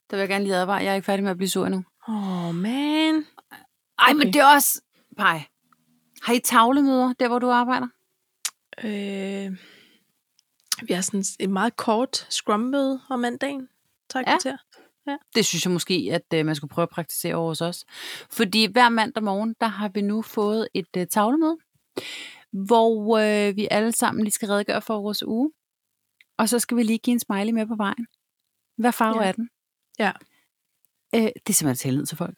Speaker 1: Der vil jeg gerne lige advare. Jeg er ikke færdig med at blive sur endnu.
Speaker 2: Åh, oh, man.
Speaker 1: Ej,
Speaker 2: Okay.
Speaker 1: men det er også... Pej. Har I tavlemøder, der hvor du arbejder?
Speaker 2: Øh, vi har sådan et meget kort scrum-møde om mandagen. Tak
Speaker 1: Ja.
Speaker 2: til
Speaker 1: Det synes jeg måske, at øh, man skulle prøve at praktisere over hos os. Fordi hver mandag morgen, der har vi nu fået et øh, tavlemøde, hvor øh, vi alle sammen lige skal redegøre for vores uge. Og så skal vi lige give en smiley med på vejen. Hvad farve
Speaker 2: Ja.
Speaker 1: er den?
Speaker 2: Ja.
Speaker 1: Øh, det er simpelthen tillid til folk.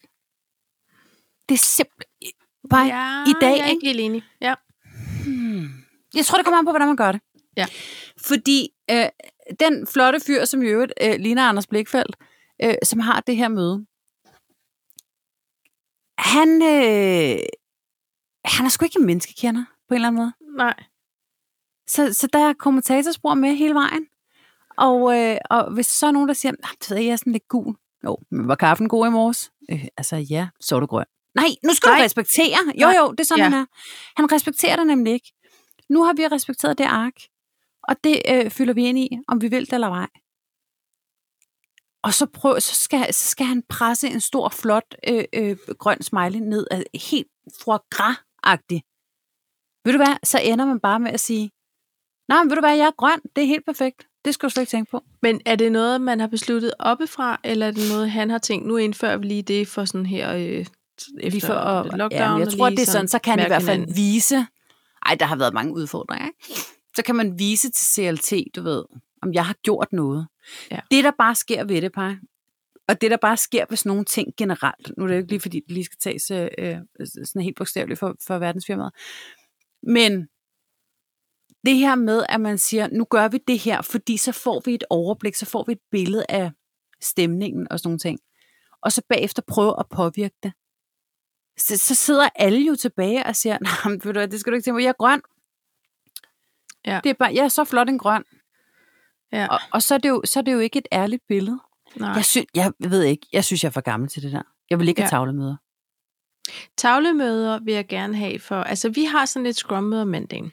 Speaker 1: Det er simpelthen... Bare, ja. i dag,
Speaker 2: jeg
Speaker 1: ikke?
Speaker 2: er ikke helt enig. Ja.
Speaker 1: Hmm. Jeg tror, det kommer an på, hvordan man gør det.
Speaker 2: Ja.
Speaker 1: Fordi øh, den flotte fyr, som i øvrigt øh, ligner Anders Blikfeldt, øh, som har det her møde, han, øh, han er sgu ikke en menneskekender på en eller anden måde.
Speaker 2: Nej.
Speaker 1: Så, så der er kommentatorspor med hele vejen. Og, øh, og hvis der så er nogen, der siger, nej, du ved, jeg er sådan lidt gul. Jo, men var kaffen god i morges? Øh, altså ja, så er du grøn. Nej, nu skal nej.
Speaker 2: Nej.
Speaker 1: du respektere. Jo,
Speaker 2: Nej.
Speaker 1: jo, det er sådan,
Speaker 2: Ja.
Speaker 1: ja. han er. Han respekterer det nemlig ikke. Nu har vi respekteret det ark, og det øh, fylder vi ind i, om vi vil det eller ej. Og så, prøv, så, skal, så skal han presse en stor, flot øh, øh, grøn smiley ned, altså helt foie gras-agtig. Ved du hvad, så ender man bare med at sige, nej, men ved du hvad, jeg er grøn, det er helt perfekt. Det skal du slet ikke tænke på.
Speaker 2: Men er det noget, man har besluttet oppefra, eller er det noget, han har tænkt, nu indfører vi lige det for sådan her øh, efter
Speaker 1: Lige for
Speaker 2: at,
Speaker 1: at,
Speaker 2: lockdown?
Speaker 1: ja, men jeg
Speaker 2: og
Speaker 1: tror,
Speaker 2: lige
Speaker 1: det er sådan, så kan han i
Speaker 2: mærke
Speaker 1: hvert fald
Speaker 2: hinanden?
Speaker 1: vise, ej, der har været mange udfordringer, ikke? så kan man vise til CLT, du ved, om jeg har gjort noget.
Speaker 2: Ja.
Speaker 1: Det, der bare sker ved det, par, og det, der bare sker ved sådan nogle ting generelt, nu er det jo ikke lige, fordi det lige skal tages øh, øh, sådan helt bogstaveligt for, for verdensfirmaet, men det her med, at man siger, nu gør vi det her, fordi så får vi et overblik, så får vi et billede af stemningen og sådan nogle ting. Og så bagefter prøve at påvirke det. Så, så sidder alle jo tilbage og siger, [laughs] nej, men ved du hvad, det skal du ikke tænke på, jeg er grøn.
Speaker 2: Ja.
Speaker 1: Det er bare, jeg er så flot en grøn.
Speaker 2: Ja,
Speaker 1: Og, og så, er det jo, så er det jo ikke et ærligt billede.
Speaker 2: nej.
Speaker 1: Jeg, sy- jeg ved ikke, jeg synes, jeg er for gammel til det der. Jeg vil ikke have
Speaker 2: Ja.
Speaker 1: tavlemøder.
Speaker 2: Tavlemøder vil jeg gerne have for... Altså, vi har sådan et scrum-møde om mandagen.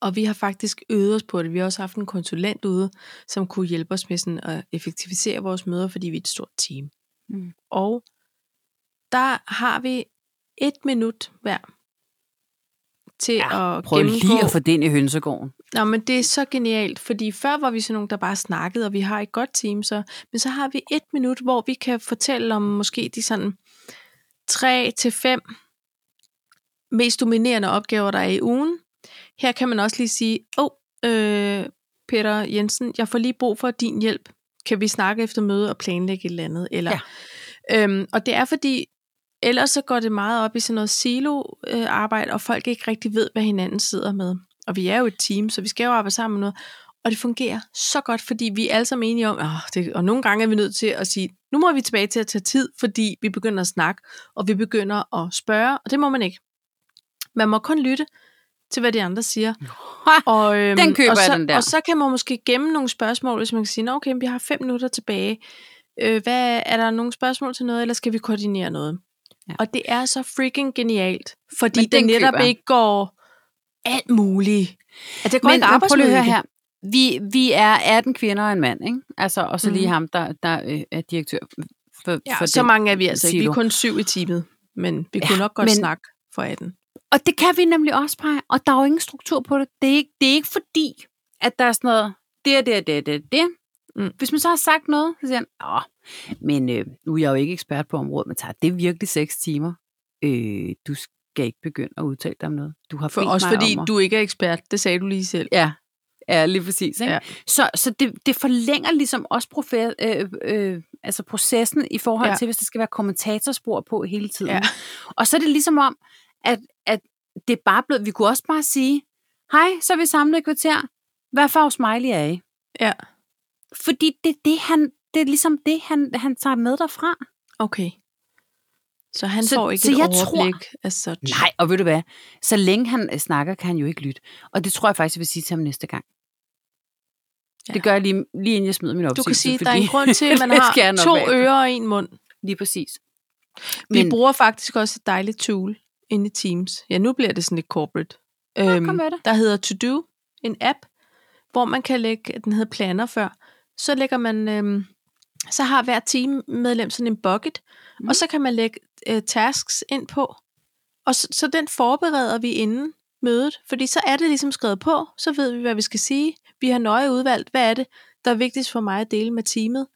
Speaker 2: Og vi har faktisk øvet os på det. Vi har også haft en konsulent ude, som kunne hjælpe os med sådan at effektivisere vores møder, fordi vi er et stort team.
Speaker 1: Mm.
Speaker 2: Og der har vi et minut hver til ja, at
Speaker 1: Prøv
Speaker 2: gennemgå...
Speaker 1: lige at få det ind i hønsegården.
Speaker 2: Nå, men det er så genialt, fordi før var vi sådan nogle, der bare snakkede, og vi har et godt team, så, men så har vi et minut, hvor vi kan fortælle om måske de sådan tre til fem mest dominerende opgaver, der er i ugen. Her kan man også lige sige, åh, oh, øh, Peter Jensen, jeg får lige brug for din hjælp. Kan vi snakke efter møde og planlægge et eller andet? Eller, ja. øhm, og det er fordi, ellers så går det meget op i sådan noget silo-arbejde, og folk ikke rigtig ved, hvad hinanden sidder med. Og vi er jo et team, så vi skal jo arbejde sammen med noget. Og det fungerer så godt, fordi vi er alle sammen enige om, oh, det, og nogle gange er vi nødt til at sige, nu må vi tilbage til at tage tid, fordi vi begynder at snakke, og vi begynder at spørge, og det må man ikke. Man må kun lytte til, hvad de andre
Speaker 1: [laughs]
Speaker 2: siger. Og, øhm,
Speaker 1: Den køber
Speaker 2: og
Speaker 1: jeg,
Speaker 2: så,
Speaker 1: den der.
Speaker 2: Og så kan man måske gemme nogle spørgsmål, hvis man kan sige, "Nå, okay, men vi har fem minutter tilbage. Øh, hvad, er der nogle spørgsmål til noget, eller skal vi koordinere noget? Ja.
Speaker 1: Ja.
Speaker 2: Og det er så freaking genialt, fordi
Speaker 1: Men
Speaker 2: det
Speaker 1: den
Speaker 2: netop
Speaker 1: køber jeg.
Speaker 2: ikke går alt muligt. At det går ikke
Speaker 1: prøv lige at
Speaker 2: arbejdsmiddel
Speaker 1: høre
Speaker 2: i det.
Speaker 1: her. Vi, vi er 18 kvinder og en mand, ikke? Altså, og så lige
Speaker 2: Mhm.
Speaker 1: ham, der, der øh, er direktør for,
Speaker 2: Ja,
Speaker 1: for
Speaker 2: så
Speaker 1: den.
Speaker 2: mange er vi altså ikke. Vi er
Speaker 1: silo.
Speaker 2: kun syv i teamet, men vi ja,
Speaker 1: Ja,
Speaker 2: kunne nok godt men...
Speaker 1: men-
Speaker 2: snakke for 18.
Speaker 1: Og det kan vi nemlig også pege, og der er jo ingen struktur på det. Det er ikke, det er ikke fordi, at der er sådan noget, det er det, og det er det, og det,
Speaker 2: Mm.
Speaker 1: Hvis man så har sagt noget, så siger han, Åh, men øh, nu er jeg jo ikke ekspert på området, men tager det virkelig seks timer? Øh, du skal ikke begynde at udtale dig om noget. Du har
Speaker 2: For
Speaker 1: bedt
Speaker 2: også
Speaker 1: mig
Speaker 2: fordi
Speaker 1: om at...
Speaker 2: du ikke er ekspert, det sagde du lige selv.
Speaker 1: Ja, ja lige præcis. Ikke?
Speaker 2: Ja.
Speaker 1: Ja. Så, så det, det forlænger ligesom også profe- øh, øh, altså processen i forhold
Speaker 2: Ja.
Speaker 1: ja. til, hvis der skal være kommentatorspor på hele tiden.
Speaker 2: Ja.
Speaker 1: Ja. Og så er det ligesom om, at, at det er bare blevet, vi kunne også bare sige, hej, så er vi samlet i kvarter. Hvad farve smiley er I?
Speaker 2: Ja.
Speaker 1: Fordi det, er det, han, det er ligesom det, han, han tager med derfra.
Speaker 2: Okay. Så han
Speaker 1: Så-
Speaker 2: får ikke
Speaker 1: så
Speaker 2: et
Speaker 1: jeg
Speaker 2: overblik af sådan.
Speaker 1: Nej, og ved du hvad? Så længe han øh, snakker, kan han jo ikke lytte. Og det tror jeg faktisk, jeg vil sige til ham næste gang.
Speaker 2: Ja.
Speaker 1: Ja. Det gør jeg lige, lige inden jeg smider min
Speaker 2: Du
Speaker 1: opsigelse.
Speaker 2: kan sige, at
Speaker 1: fordi...
Speaker 2: der er en
Speaker 1: [laughs]
Speaker 2: grund til, at man
Speaker 1: det
Speaker 2: har
Speaker 1: skal jeg nok være
Speaker 2: to
Speaker 1: efter.
Speaker 2: ører og en mund.
Speaker 1: Lige præcis.
Speaker 2: Vi
Speaker 1: Men,
Speaker 2: bruger faktisk også et dejligt tool inde i Teams. Ja, nu bliver det sådan lidt corporate. Øhm,
Speaker 1: kom med det.
Speaker 2: Der hedder To Do, en app, hvor man kan lægge, den hedder Planner før, så lægger man, øhm, så har hver teammedlem sådan en bucket, mm.
Speaker 1: Mm.
Speaker 2: og så kan man lægge øh, tasks ind på, og så, så den forbereder vi inden mødet, fordi så er det ligesom skrevet på, så ved vi, hvad vi skal sige. Vi har nøje udvalgt, hvad er det, der er vigtigst for mig at dele med teamet,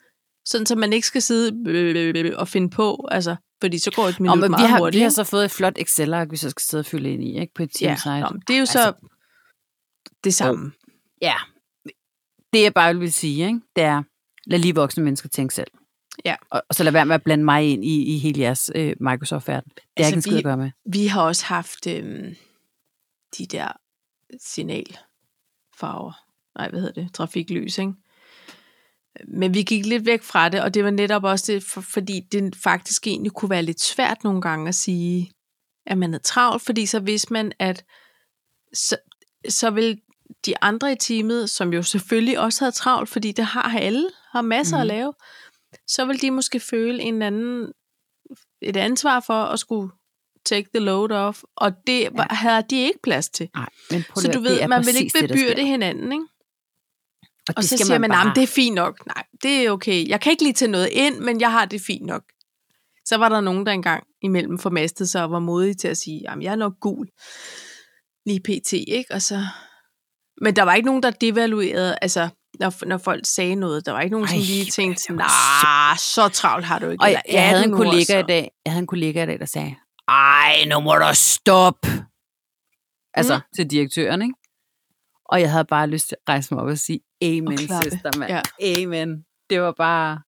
Speaker 2: sådan så man ikke skal sidde øh, og finde på, altså, fordi så går et minut
Speaker 1: og men vi,
Speaker 2: meget
Speaker 1: har,
Speaker 2: hurtigt.
Speaker 1: vi har
Speaker 2: ikke?
Speaker 1: så fået et flot Excel-ark, vi så skal sidde og fylde ind i, ikke? På et
Speaker 2: ja,
Speaker 1: teamsite. Altså- Ja,
Speaker 2: nå, men det er jo så altså,
Speaker 1: Altså-
Speaker 2: det samme.
Speaker 1: ja. Det jeg bare vil sige, ikke? det er, lad lige voksne mennesker tænke selv.
Speaker 2: Ja.
Speaker 1: Og, og så lad være med at blande mig ind i, i hele jeres øh, Microsoft-verden. Det er
Speaker 2: Altså,
Speaker 1: altså, ikke en skid
Speaker 2: vi-
Speaker 1: at gøre med.
Speaker 2: Vi har også haft øhm, de der signalfarver. Nej, hvad hedder det? Trafiklys, ikke? Men vi gik lidt væk fra det, og det var netop også det, for, fordi det faktisk egentlig kunne være lidt svært nogle gange at sige, at man er travlt, fordi så vidste man, at så, så vil de andre i teamet, som jo selvfølgelig også havde travlt, fordi det har alle, har masser mm. at
Speaker 1: Mhm.
Speaker 2: lave, så vil de måske føle en anden, et ansvar for at skulle take the load off, og det var, havde de ikke plads til.
Speaker 1: Nej, men prøv
Speaker 2: så
Speaker 1: lige
Speaker 2: du
Speaker 1: at- det
Speaker 2: ved,
Speaker 1: er
Speaker 2: man vil
Speaker 1: præcis
Speaker 2: ikke
Speaker 1: der sker.
Speaker 2: bebyrde det, hinanden, ikke? Og
Speaker 1: det
Speaker 2: så
Speaker 1: skal
Speaker 2: siger man, at
Speaker 1: bare-
Speaker 2: det er fint nok. Nej, det er okay. Jeg kan ikke lige tage noget ind, men jeg har det fint nok. Så var der nogen, der engang imellem formastede sig og var modige til at sige, at jeg er nok gul. Lige pt, ikke? Og så... Men der var ikke nogen, der devaluerede, altså når, når folk sagde noget. Der var ikke nogen, som
Speaker 1: Ej,
Speaker 2: lige
Speaker 1: hvor
Speaker 2: tænkte,
Speaker 1: er det
Speaker 2: nej, så travlt har du ikke.
Speaker 1: Og
Speaker 2: Eller
Speaker 1: jeg, jeg havde en
Speaker 2: 18 uger,
Speaker 1: kollega i
Speaker 2: så.
Speaker 1: dag, jeg havde en kollega i dag, der sagde, ej, nu må du stoppe. Altså, mm. til direktøren, ikke? Og jeg havde bare lyst til at rejse mig op og sige, amen, og
Speaker 2: klappe.
Speaker 1: søster, mand.
Speaker 2: Ja.
Speaker 1: Ja. Amen. Det var bare...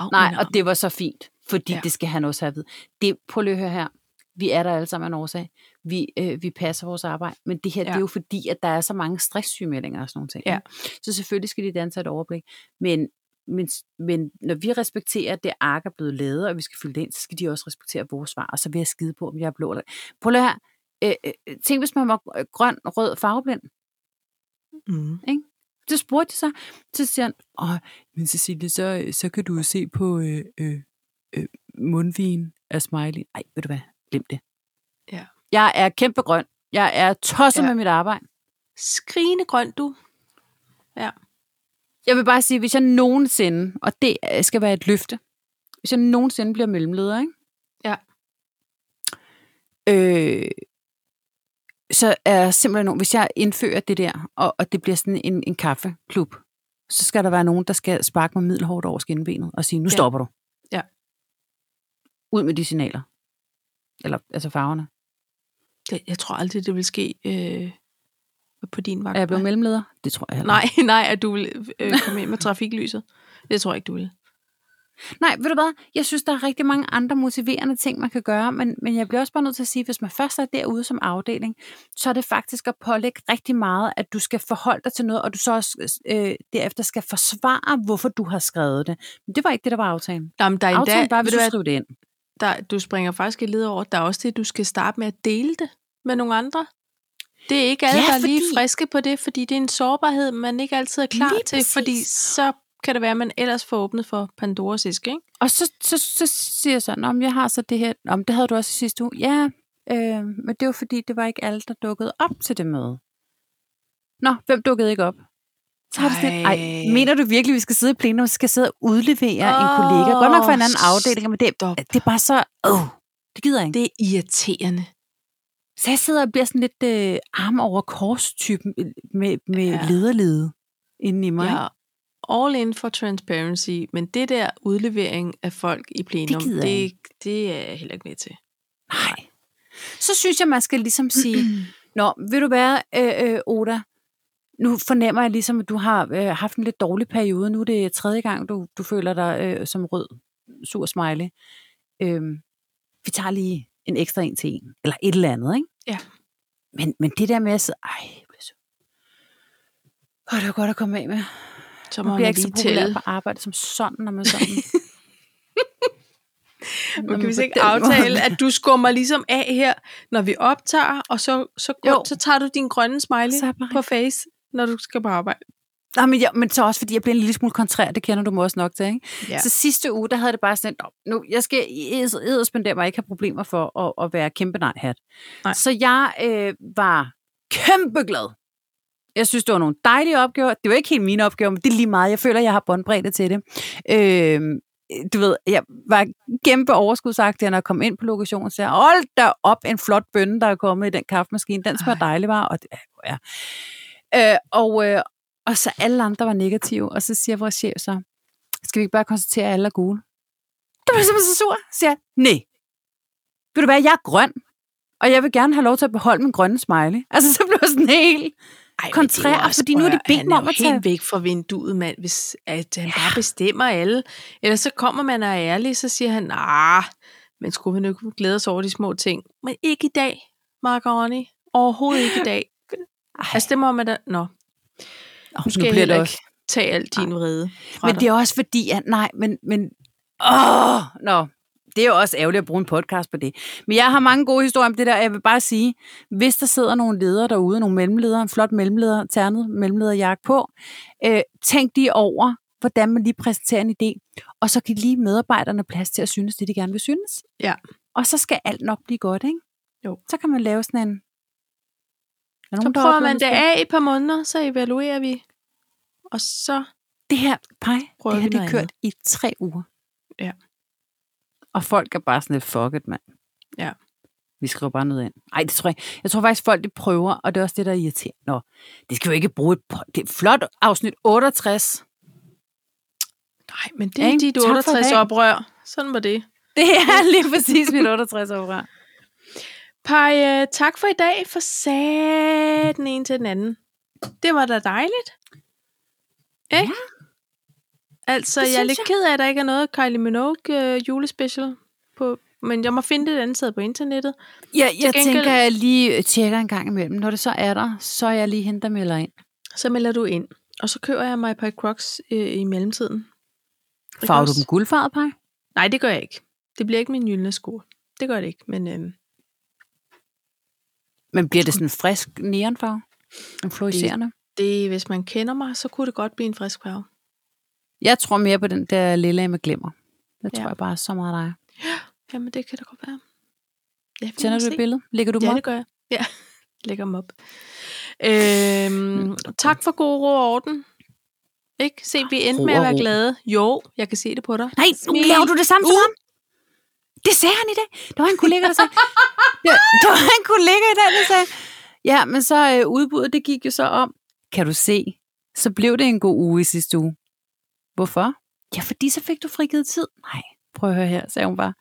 Speaker 2: Au,
Speaker 1: Nej,
Speaker 2: min arm.
Speaker 1: og det var så fint, fordi
Speaker 2: Ja.
Speaker 1: ja. det skal han også have at vide. Det, prøv lige at høre her. Vi er der alle sammen af en årsag. Vi, øh, vi passer vores arbejde. Men det her, ja. det
Speaker 2: Ja.
Speaker 1: er jo fordi, at der er så mange stresssygemeldinger og sådan nogle ting.
Speaker 2: Ja.
Speaker 1: ikke? Så selvfølgelig skal de danse et overblik. Men, men, men når vi respekterer, at det ark er blevet lavet, og vi skal fylde det ind, så skal de også respektere vores svar, og så vil jeg skide på, om jeg er blå eller... Prøv lige at høre. Øh, øh, tænk, hvis man var øh, grøn, rød, farveblind.
Speaker 2: Mm.
Speaker 1: Så spurgte jeg så, så siger han, Åh, men Cecilie, så, så kan du jo se på øh, øh, øh, mundvin af Smiley. Ej, ved du hvad, glem det.
Speaker 2: Ja.
Speaker 1: Jeg er kæmpe grøn. Jeg er tosset
Speaker 2: Ja.
Speaker 1: ja. med mit arbejde.
Speaker 2: Skrigende grøn, du.
Speaker 1: Jeg vil bare sige, hvis jeg nogensinde, og det øh, skal være et løfte, hvis jeg nogensinde bliver mellemleder, ikke?
Speaker 2: Ja.
Speaker 1: Øh, så er jeg simpelthen nogen, hvis jeg indfører det der, og, og det bliver sådan en, en kaffeklub, så skal der være nogen, der skal sparke mig middelhårdt over skinbenet og sige, nu
Speaker 2: Ja.
Speaker 1: stopper du.
Speaker 2: Ja.
Speaker 1: Ud med de signaler. Eller, altså farverne.
Speaker 2: Det, jeg tror aldrig, det vil ske øh, på din vagt.
Speaker 1: Er jeg blevet
Speaker 2: hva'?
Speaker 1: mellemleder? Det tror jeg heller
Speaker 2: Nej, [laughs] nej, at du vil øh, komme ind med trafiklyset. Det tror jeg ikke, du vil.
Speaker 1: Nej, ved du hvad? Jeg synes, der er rigtig mange andre motiverende ting, man kan gøre, men, men jeg bliver også bare nødt til at sige, hvis man først er derude som afdeling, så er det faktisk at pålægge rigtig meget, at du skal forholde dig til noget, og du så også øh, derefter skal forsvare, hvorfor du har skrevet det. Men det var ikke det, der var aftalen.
Speaker 2: Jamen, der er endda,
Speaker 1: Aftalen var, at vi
Speaker 2: ved du,
Speaker 1: skulle
Speaker 2: hvad,
Speaker 1: skrive det ind.
Speaker 2: der, du springer faktisk lidt over. Der er også det, du skal starte med at dele det med nogle andre. Det er ikke alle,
Speaker 1: Ja,
Speaker 2: der er lige
Speaker 1: fordi-
Speaker 2: friske på det, fordi det er en sårbarhed, man ikke altid er klar
Speaker 1: Lige
Speaker 2: til,
Speaker 1: præcis.
Speaker 2: fordi så kan det være, at man ellers får åbnet for Pandoras æske, ikke?
Speaker 1: Og så, så, så siger jeg sådan, om jeg har så det her, om det havde du også i sidste uge. Ja, øh, men det var fordi, det var ikke alle, der dukkede op til det møde. Nå, hvem dukkede ikke op? Så har det sådan,
Speaker 2: Ej.
Speaker 1: ej, mener du virkelig, vi skal sidde i plenum, og skal sidde og udlevere oh, en kollega? Godt nok fra en anden
Speaker 2: Åh,
Speaker 1: afdeling, men det,
Speaker 2: stop.
Speaker 1: det er bare så, åh, det gider jeg ikke.
Speaker 2: Det er irriterende.
Speaker 1: Så jeg sidder og bliver sådan lidt øh, arm over kors-typen med, med
Speaker 2: Ja.
Speaker 1: ja. lederlede inden i mig. Ja.
Speaker 2: Jeg all in for transparency, men det der udlevering af folk i plenum,
Speaker 1: gider
Speaker 2: det,
Speaker 1: jeg
Speaker 2: det, det er jeg heller ikke med til.
Speaker 1: Nej. Så synes jeg, man skal ligesom
Speaker 2: [clears throat]
Speaker 1: sige, Nå, vil du være, øh, øh, Oda, nu fornemmer jeg ligesom, at du har øh, haft en lidt dårlig periode. Nu er det tredje gang, du, du føler dig øh, som rød, sur smiley. Øhm, vi tager lige en ekstra en til en, eller et eller andet, ikke?
Speaker 2: Ja.
Speaker 1: Men, men det der med at sidde, ej, jeg bliver så... Åh, det var godt at komme af med.
Speaker 2: Så
Speaker 1: Man
Speaker 2: må
Speaker 1: bliver
Speaker 2: man
Speaker 1: ikke så
Speaker 2: lige
Speaker 1: populær
Speaker 2: tælle.
Speaker 1: på arbejde som sådan,
Speaker 2: [laughs]
Speaker 1: når man sådan... Når
Speaker 2: Men kan vi så
Speaker 1: på
Speaker 2: ikke
Speaker 1: den
Speaker 2: aftale,
Speaker 1: måde-
Speaker 2: at du skummer ligesom af her, når vi optager, og så, så,
Speaker 1: Jo.
Speaker 2: går, så tager du din grønne smiley
Speaker 1: [laughs] Så er jeg bare-
Speaker 2: på face, når du skal på arbejde.
Speaker 1: Nej, men, jeg, men så også, fordi jeg blev en lille smule kontrær, det kender du mig også nok til, ikke?
Speaker 2: Ja.
Speaker 1: Ja. Så sidste uge, der havde det bare sådan, "Nå, nu, jeg skal edderspendere mig, ikke have problemer for at, at være kæmpe nej-hat.
Speaker 2: Nej.
Speaker 1: Så jeg øh, var kæmpe glad. Jeg synes, det var nogle dejlige opgaver. Det var ikke helt mine opgaver, men det er lige meget. Jeg føler, jeg har båndbredde til det. Øh, du ved, jeg var kæmpe overskudsagtig, når jeg kom ind på lokationen, så jeg, hold da op, en flot bønne, der er kommet i den kaffemaskine. Den smager dejlig, var. Og, det, ja. øh, og, øh, og så alle andre var negative, og så siger vores chef så, skal vi ikke bare konstatere, at alle er gule? Der bliver jeg simpelthen så sur, siger jeg, nej. Vil du være, jeg er grøn, og jeg vil gerne have lov til at beholde min grønne smiley. Altså, så blev jeg sådan helt...
Speaker 2: Ej,
Speaker 1: kontrær, fordi nu er de bedt mig om
Speaker 2: mig
Speaker 1: at
Speaker 2: Han
Speaker 1: tage-
Speaker 2: ah, er jo helt væk fra vinduet, mand, hvis at han bare bestemmer alle. Ellers så kommer man og er ærlig, så siger han, nah, men skulle vi nu ikke glæde os over de små ting? Men ikke i dag, Mark og Ronny. Overhovedet ikke i dag. Altså, det må man da... Nå,
Speaker 1: Oh,
Speaker 2: nu skal jeg heller ikke tage al din vrede fra
Speaker 1: Men
Speaker 2: dig.
Speaker 1: det er også fordi, at nej, men... men åh, nå, det er jo også ærgerligt at bruge en podcast på det. Men jeg har mange gode historier om det der, og jeg vil bare sige, hvis der sidder nogle ledere derude, nogle mellemledere, en flot mellemleder, ternet mellemlederjakke på, øh, tænk lige over, hvordan man lige præsenterer en idé, og så kan lige medarbejderne plads til at synes det, de gerne vil synes.
Speaker 2: Ja.
Speaker 1: Og så skal alt nok blive godt, ikke?
Speaker 2: Jo.
Speaker 1: Så kan man lave sådan en... Er der
Speaker 2: Så
Speaker 1: nogen, der
Speaker 2: prøver
Speaker 1: oplever
Speaker 2: man
Speaker 1: en
Speaker 2: det
Speaker 1: spil?
Speaker 2: af i et par måneder, så evaluerer vi. Og så...
Speaker 1: det her, pej,
Speaker 2: Prøver
Speaker 1: det her
Speaker 2: vi
Speaker 1: det er
Speaker 2: noget
Speaker 1: kørt i tre uger.
Speaker 2: Ja.
Speaker 1: Og folk er bare sådan lidt, fuck it, mand.
Speaker 2: Ja.
Speaker 1: Vi skriver bare noget ind. Nej, det tror jeg ikke. Jeg tror faktisk, folk de prøver, og det er også det, der irriterer. Nå, det skal jo ikke bruge et... po- Det er flot afsnit 68.
Speaker 2: Nej, men det
Speaker 1: Ja,
Speaker 2: er
Speaker 1: ikke?
Speaker 2: dit
Speaker 1: Tak for i dag.
Speaker 2: 68 oprør. Sådan var det.
Speaker 1: Det er lige præcis mit 68 år.
Speaker 2: Paj, øh, tak for i dag. For sagde den ene til den anden. Det var da dejligt. Ikke?
Speaker 1: Ja.
Speaker 2: Altså,
Speaker 1: Det
Speaker 2: jeg er
Speaker 1: synes
Speaker 2: lidt
Speaker 1: jeg.
Speaker 2: ked af, at der ikke er noget Kylie Minogue øh, julespecial på, men jeg må finde det et andet sted på internettet.
Speaker 1: Ja, jeg
Speaker 2: gengæld-
Speaker 1: tænker, at jeg lige tjekker en gang imellem. Når det så er der, så er jeg lige hende, der melder ind.
Speaker 2: Så melder du ind, og så køber jeg mig et par crocs øh, i mellemtiden. Ikke
Speaker 1: Farver du
Speaker 2: også?
Speaker 1: dem guldfarvet, Paj?
Speaker 2: Nej, det gør jeg ikke. Det bliver ikke min gyldne sko. Det gør det ikke, men øhm,
Speaker 1: Men bliver det sådan en frisk neonfarve? En fluorescerende?
Speaker 2: det, hvis man kender mig, så kunne det godt blive en frisk farve.
Speaker 1: Jeg tror mere på den der lilla med glimmer. Det
Speaker 2: Ja.
Speaker 1: tror jeg bare er så meget dig.
Speaker 2: Jamen, det kan da godt være. Ja, vi må
Speaker 1: Tænder du
Speaker 2: se.
Speaker 1: et billede? Lægger du dem
Speaker 2: Ja,
Speaker 1: op?
Speaker 2: det gør jeg. Ja, [laughs] lægger dem op. Øhm, tak for god ro og orden. Ikke? Se, vi endte
Speaker 1: Ro
Speaker 2: med at
Speaker 1: og
Speaker 2: være
Speaker 1: ro.
Speaker 2: glade. Jo, jeg kan se det på dig.
Speaker 1: Nej, nu
Speaker 2: Smil.
Speaker 1: laver du det samme uh. som ham. Det sagde han i dag. Der var en kollega, der sagde... ja, [laughs] der var en kollega i dag, der sagde... Ja, men så øh, udbuddet, det gik jo så om. Kan du se, så blev det en god uge i sidste uge. Hvorfor? Ja, fordi så fik du frigivet tid. Nej, prøv at høre her, sagde hun bare.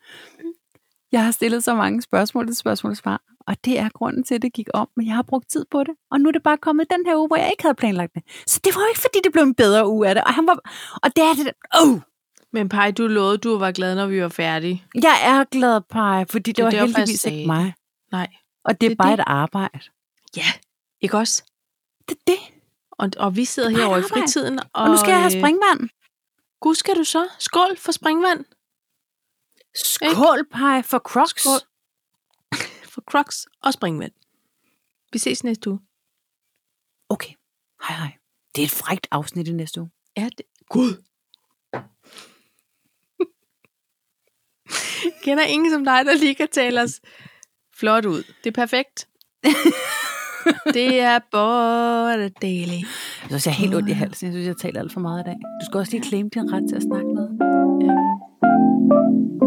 Speaker 1: Jeg har stillet så mange spørgsmål til spørgsmål og svar, og det er grunden til, at det gik om, men jeg har brugt tid på det, og nu er det bare kommet i den her uge, hvor jeg ikke havde planlagt det. Så det var jo ikke, fordi det blev en bedre uge af det, og, han var, og det er det, der- åh, oh,
Speaker 2: Men Paj, du lovede, du var glad, når vi var færdige.
Speaker 1: jeg er glad, Paj, fordi det,
Speaker 2: Det
Speaker 1: det
Speaker 2: er
Speaker 1: var
Speaker 2: derfor, jeg
Speaker 1: heldigvis
Speaker 2: sagde
Speaker 1: ikke mig.
Speaker 2: Nej.
Speaker 1: Og det er
Speaker 2: Det er
Speaker 1: det, bare
Speaker 2: det.
Speaker 1: et arbejde.
Speaker 2: Ja, ikke også?
Speaker 1: Det er det.
Speaker 2: Og, og vi sidder
Speaker 1: Det er bare
Speaker 2: herovre i
Speaker 1: et arbejde.
Speaker 2: fritiden. Og,
Speaker 1: Og, nu skal jeg have
Speaker 2: øh,
Speaker 1: springvand.
Speaker 2: Gud, skal du så? Skål for springvand.
Speaker 1: Skål, Paj, for Crocs.
Speaker 2: Skål. [laughs] For crocs og springvand. Vi ses næste uge.
Speaker 1: Okay, hej hej. Det er et frægt afsnit i næste uge.
Speaker 2: Ja, det... Gud. Kender ingen som dig, der lige kan tale os flot ud. Det er [laughs] perfekt. det er bare dejligt.
Speaker 1: Jeg synes, jeg er helt ondt i halsen. Jeg synes, jeg taler alt for meget i dag. Du skal også lige claim din ret til at snakke med.
Speaker 2: Ja.